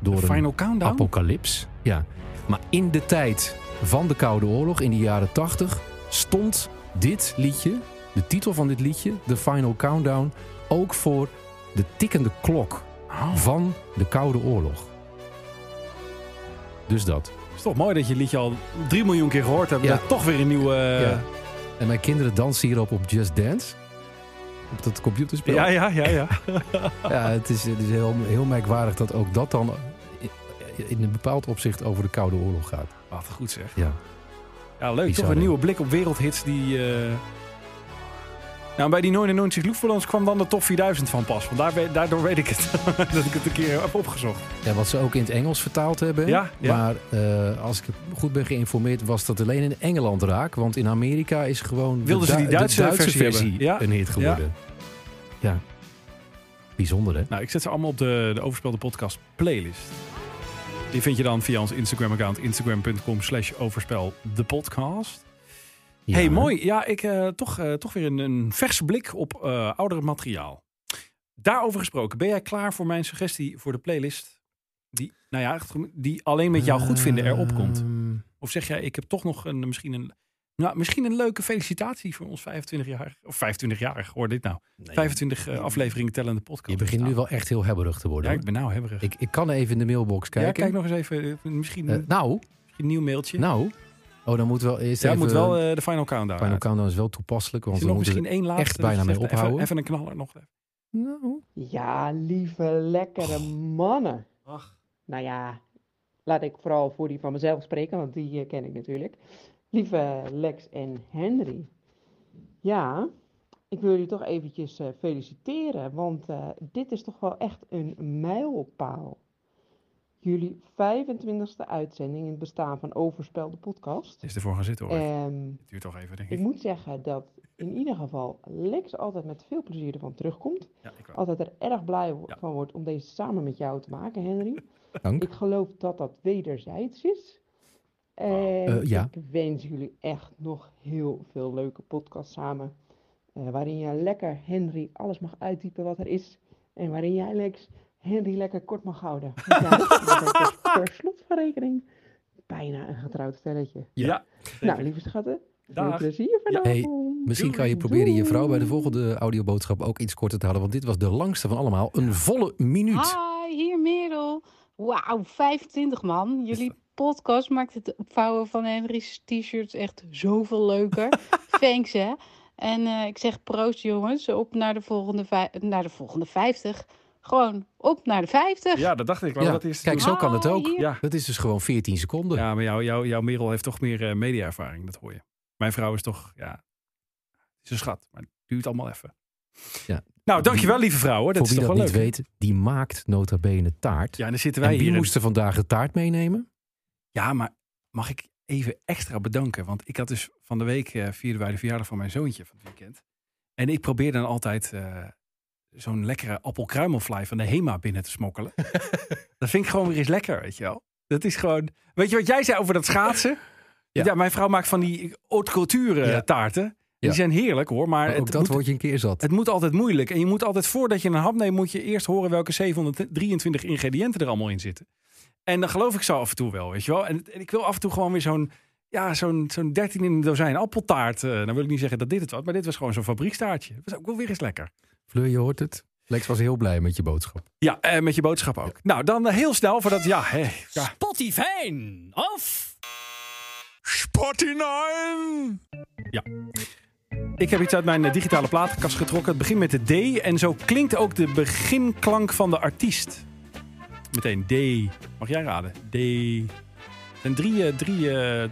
Speaker 4: Door
Speaker 3: De final
Speaker 4: een
Speaker 3: countdown?
Speaker 4: apocalyps. Ja. Maar in de tijd van de Koude Oorlog, in de jaren 80, stond dit liedje, de titel van dit liedje, de Final Countdown, ook voor de tikkende klok
Speaker 3: Oh.
Speaker 4: van de Koude Oorlog. Dus dat.
Speaker 3: Het is toch mooi dat je liedje al drie miljoen keer gehoord hebt.
Speaker 4: Ja.
Speaker 3: Dat toch weer een nieuwe... eh,
Speaker 4: Ja. En mijn kinderen dansen hierop op Just Dance. Op dat computerspel.
Speaker 3: Ja, ja, ja, ja.
Speaker 4: Ja, het is, het is heel, heel merkwaardig dat ook dat dan in- in een bepaald opzicht over de Koude Oorlog gaat.
Speaker 3: [LAUGHS] Wat goed zeg.
Speaker 4: Ja.
Speaker 3: Ja, leuk.
Speaker 4: Bizar,
Speaker 3: toch een
Speaker 4: hè?
Speaker 3: nieuwe blik op wereldhits die... eh, Nou, bij die 99 Luftballons kwam dan de top 4000 van pas. Want daar, we- daardoor weet ik het. [LAUGHS] dat ik het een keer heb opgezocht.
Speaker 4: Ja, wat ze ook in het Engels vertaald hebben.
Speaker 3: Ja, ja.
Speaker 4: Maar eh, als ik goed ben geïnformeerd, was dat alleen in Engeland raak. Want in Amerika is gewoon
Speaker 3: Wilden
Speaker 4: de,
Speaker 3: ze
Speaker 4: Du-
Speaker 3: die Duitse
Speaker 4: de Duitse
Speaker 3: versie hebben?
Speaker 4: versie
Speaker 3: Ja.
Speaker 4: een hit
Speaker 3: Ja.
Speaker 4: geworden. Ja. Bijzonder, hè?
Speaker 3: Nou, ik zet ze allemaal op de, de Overspelde Podcast playlist. Die vind je dan via ons Instagram-account, instagram.com slash overspel de podcast. hey, mooi. Ja, ik eh, toch, eh, toch weer een, een verse blik op eh ouder materiaal. Daarover gesproken, ben jij klaar voor mijn suggestie voor de playlist? Die, nou ja, echt die alleen met jou goed vinden erop
Speaker 4: Ehm, Eh.
Speaker 3: komt. Of zeg jij, ik heb toch nog een, misschien, een, nou, misschien een leuke felicitatie voor ons 25-jarig, of 25-jarig, hoor dit nou. 25 eh, afleveringen tellende podcast. Nou,
Speaker 4: Je begint nu wel echt heel hebberig te worden.
Speaker 3: Ja,
Speaker 4: hoor.
Speaker 3: ik ben nou hebberig.
Speaker 4: ik, ik kan even in de mailbox kijken.
Speaker 3: Ja, kijk nog eens even. eh, Misschien,
Speaker 4: Eh, nou,
Speaker 3: misschien een nieuw mailtje.
Speaker 4: nou. Oh, dan moet wel eerst
Speaker 3: ja,
Speaker 4: even...
Speaker 3: moet wel eh, de final countdown.
Speaker 4: Final
Speaker 3: uit.
Speaker 4: Countdown is wel toepasselijk,
Speaker 3: Is
Speaker 4: want
Speaker 3: er
Speaker 4: we
Speaker 3: nog
Speaker 4: moeten
Speaker 3: misschien
Speaker 4: er
Speaker 3: één laatste?
Speaker 4: echt
Speaker 3: dat je
Speaker 4: bijna mee
Speaker 3: zegt, even-
Speaker 4: ophouden.
Speaker 3: Even, een knaller nog.
Speaker 5: Ja, lieve, lekkere mannen. Ach. Nou ja, laat ik vooral voor die van mezelf spreken, want die eh, ken ik natuurlijk. Lieve Lex en Henry. Ja, ik wil jullie toch eventjes eh, feliciteren, want eh, dit is toch wel echt een mijlpaal. Jullie 25e uitzending in het bestaan van Overspel, de podcast.
Speaker 3: Is ervoor gaan zitten
Speaker 6: Eh,
Speaker 3: hoor.
Speaker 5: Ehm,
Speaker 3: Het duurt toch even, denk ik.
Speaker 5: ik moet zeggen dat in ieder geval Lex altijd met veel plezier ervan terugkomt. altijd er erg blij wo- van wordt om deze samen met jou te maken, Henry.
Speaker 4: Dank.
Speaker 5: Ik geloof dat dat wederzijds is. En
Speaker 4: Eh, ja.
Speaker 5: ik wens jullie echt nog heel veel leuke podcasts samen. eh, waarin jij lekker Henry alles mag uitdiepen wat er is. En waarin jij Lex Henry lekker kort mag houden. Want ja, we zijn per- per slot van rekening bijna een getrouwd stelletje.
Speaker 4: Ja.
Speaker 5: Nou, lieve schatten, veel
Speaker 4: Dag.
Speaker 5: plezier vanavond.
Speaker 4: Hey, misschien kan je proberen je vrouw bij de volgende audioboodschap ook iets korter te houden. Want dit was de langste van allemaal. Een volle
Speaker 11: Ah.
Speaker 4: minuut.
Speaker 16: Hi, hier Merel. Wauw, 25 man. Jullie podcast maakt het opvouwen van Henry's t-shirts echt zoveel leuker.
Speaker 4: [LAUGHS]
Speaker 16: Thanks hè. En eh, ik zeg proost jongens, op naar de volgende, vij- naar de volgende 50. Gewoon op naar de 50.
Speaker 3: Ja, dat dacht ik.
Speaker 4: Ja,
Speaker 3: Dat is
Speaker 4: Kijk, zo kan het ook.
Speaker 16: Hi.
Speaker 3: Ja.
Speaker 4: Dat is dus gewoon 14 seconden.
Speaker 3: Ja, maar jouw jou, jou Merel heeft toch meer eh, media-ervaring, dat hoor je. Mijn vrouw is toch, ja, is een schat, maar het duurt allemaal even.
Speaker 4: Ja.
Speaker 3: Nou, dankjewel, lieve vrouw. hoor. Dat
Speaker 4: Voor
Speaker 3: is
Speaker 4: wie
Speaker 3: toch
Speaker 4: dat
Speaker 3: wel
Speaker 4: niet
Speaker 3: leuk.
Speaker 4: weet, die maakt nota bene taart.
Speaker 3: Ja, en dan zitten wij
Speaker 4: en wie
Speaker 3: hier. in-
Speaker 4: moesten vandaag de taart meenemen?
Speaker 3: Ja, maar mag ik even extra bedanken? Want ik had dus van de week eh vierden wij de verjaardag van mijn zoontje van het weekend. En ik probeer dan altijd eh, zo'n lekkere appelkruimelfly van de Hema binnen te
Speaker 4: [LAUGHS]
Speaker 3: smokkelen. dat vind ik gewoon weer eens lekker, weet je wel. Dat is gewoon... Weet je wat jij zei over dat schaatsen? Ja, mijn vrouw maakt van die haute couture eh, taarten. En Die
Speaker 4: Ja.
Speaker 3: zijn heerlijk hoor, maar,
Speaker 4: Maar ook
Speaker 3: het,
Speaker 4: dat
Speaker 3: moet,
Speaker 4: word je een keer zat.
Speaker 3: het moet altijd moeilijk. En je moet altijd, voordat je een hap neemt, moet je eerst horen welke 723 ingrediënten er allemaal in zitten. En dan geloof ik zo af en toe wel, weet je wel. En, en ik wil af en toe gewoon weer zo'n, ja, zo'n, zo'n 13 in een dozijn appeltaart. Eh dan wil ik niet zeggen dat dit het was, maar dit was gewoon zo'n fabriekstaartje. Dat was ook wel weer eens lekker.
Speaker 4: Fleur, je hoort het. Lex was heel blij met je boodschap.
Speaker 3: Ja, en Eh, met je boodschap ook. Nou, dan eh, heel snel voordat, ja, hè, ja.
Speaker 6: Spotify of Spotify.
Speaker 3: Ja. Ik heb iets uit mijn eh, digitale plaatkast getrokken. Het begint met de D. En zo klinkt ook de beginklank van de artiest. Meteen D. Mag jij raden? D. Het zijn drie, eh, drie, eh,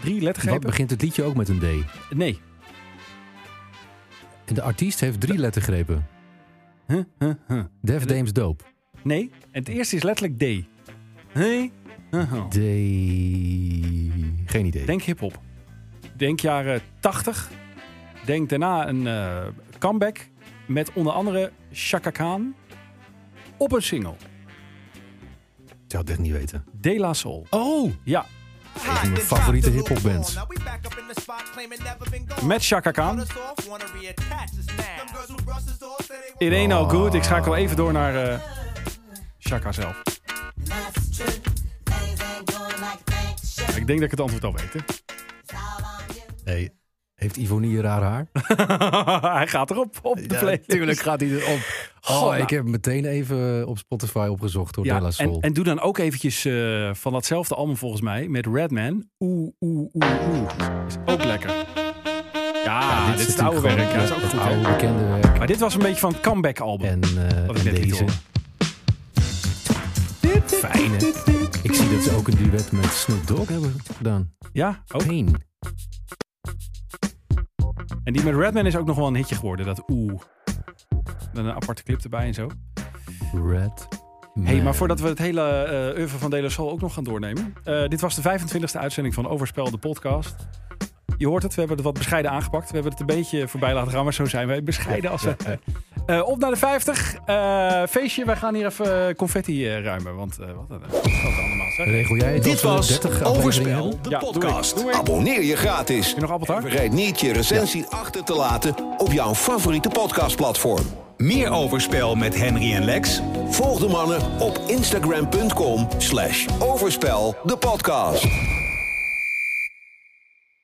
Speaker 3: drie
Speaker 4: Wat
Speaker 3: lettergrepen.
Speaker 4: begint het liedje ook met een D?
Speaker 3: Nee.
Speaker 4: En de artiest heeft drie lettergrepen.
Speaker 3: Huh, huh, huh.
Speaker 4: Def Dames Dope.
Speaker 3: Nee. En het eerste is letterlijk D. Nee. Huh, huh.
Speaker 4: D. Geen idee.
Speaker 3: Oh. Denk hip-hop. Denk jaren 80. Denk daarna een eh, comeback met onder andere Chaka Khan op een single.
Speaker 4: Ik zou dit niet weten.
Speaker 3: De La Soul.
Speaker 4: Oh!
Speaker 3: Ja.
Speaker 4: Een van mijn favoriete hip-hop bands.
Speaker 3: Met Chaka Khan. It ain't no good. Ik schakel even door naar eh, Chaka zelf. Ik denk dat ik het antwoord al weet. Hè? [LAUGHS]
Speaker 4: Nee. Heeft Ivonie raar haar?
Speaker 3: hij gaat erop op de playlist.
Speaker 4: Tuurlijk gaat hij erop. Oh,
Speaker 3: Goh,
Speaker 4: ik
Speaker 3: nou.
Speaker 4: heb meteen even op Spotify opgezocht door Della
Speaker 3: en,
Speaker 4: Soul.
Speaker 3: en doe dan ook eventjes eh, van datzelfde album volgens mij met Redman. Oeh, oeh, oeh, oeh. Is ook lekker. Ja, dit, is het oude werk.
Speaker 4: natuurlijk
Speaker 3: Ja, dat is ook
Speaker 4: gewoon
Speaker 3: goed.
Speaker 4: het oude
Speaker 3: hè?
Speaker 4: bekende werk.
Speaker 3: Maar dit was een beetje van het comeback album.
Speaker 4: En, eh,
Speaker 3: Wat ik
Speaker 4: en
Speaker 3: net liet
Speaker 4: deze.
Speaker 3: horen.
Speaker 4: Fijn, hè? Ik zie dat ze ook een duet met Snoop Dogg hebben gedaan.
Speaker 3: Ja, ook.
Speaker 4: Pain.
Speaker 3: En die met Redman is ook nog wel een hitje geworden. Dat oeh. Dan een aparte clip erbij en zo.
Speaker 4: Red.
Speaker 3: Hey, maar voordat we het hele eh oeuvre van Dela Sol ook nog gaan doornemen. eh, dit was de 25e uitzending van Overspel, de podcast. Je hoort het, we hebben het wat bescheiden aangepakt. We hebben het een beetje voorbij laten gaan, maar zo zijn wij bescheiden. Als we, Eh, op naar de 50. Eh, feestje, wij gaan hier even eh, confetti eh, ruimen. Want eh, wat een wat allemaal zeg.
Speaker 4: Regel jij het
Speaker 2: Dit
Speaker 4: als we
Speaker 2: was
Speaker 4: 30 afleveringen
Speaker 2: Overspel,
Speaker 4: hebben?
Speaker 2: de
Speaker 3: Ja, doe ik.
Speaker 2: podcast.
Speaker 3: Doe ik.
Speaker 2: Abonneer je gratis.
Speaker 3: Heb je nog appeltaart?
Speaker 2: Vergeet niet je recensie achter te laten op jouw favoriete podcastplatform.
Speaker 1: Meer overspel met Henry en Lex.
Speaker 2: Volg de mannen op instagram.com slash overspel de podcast.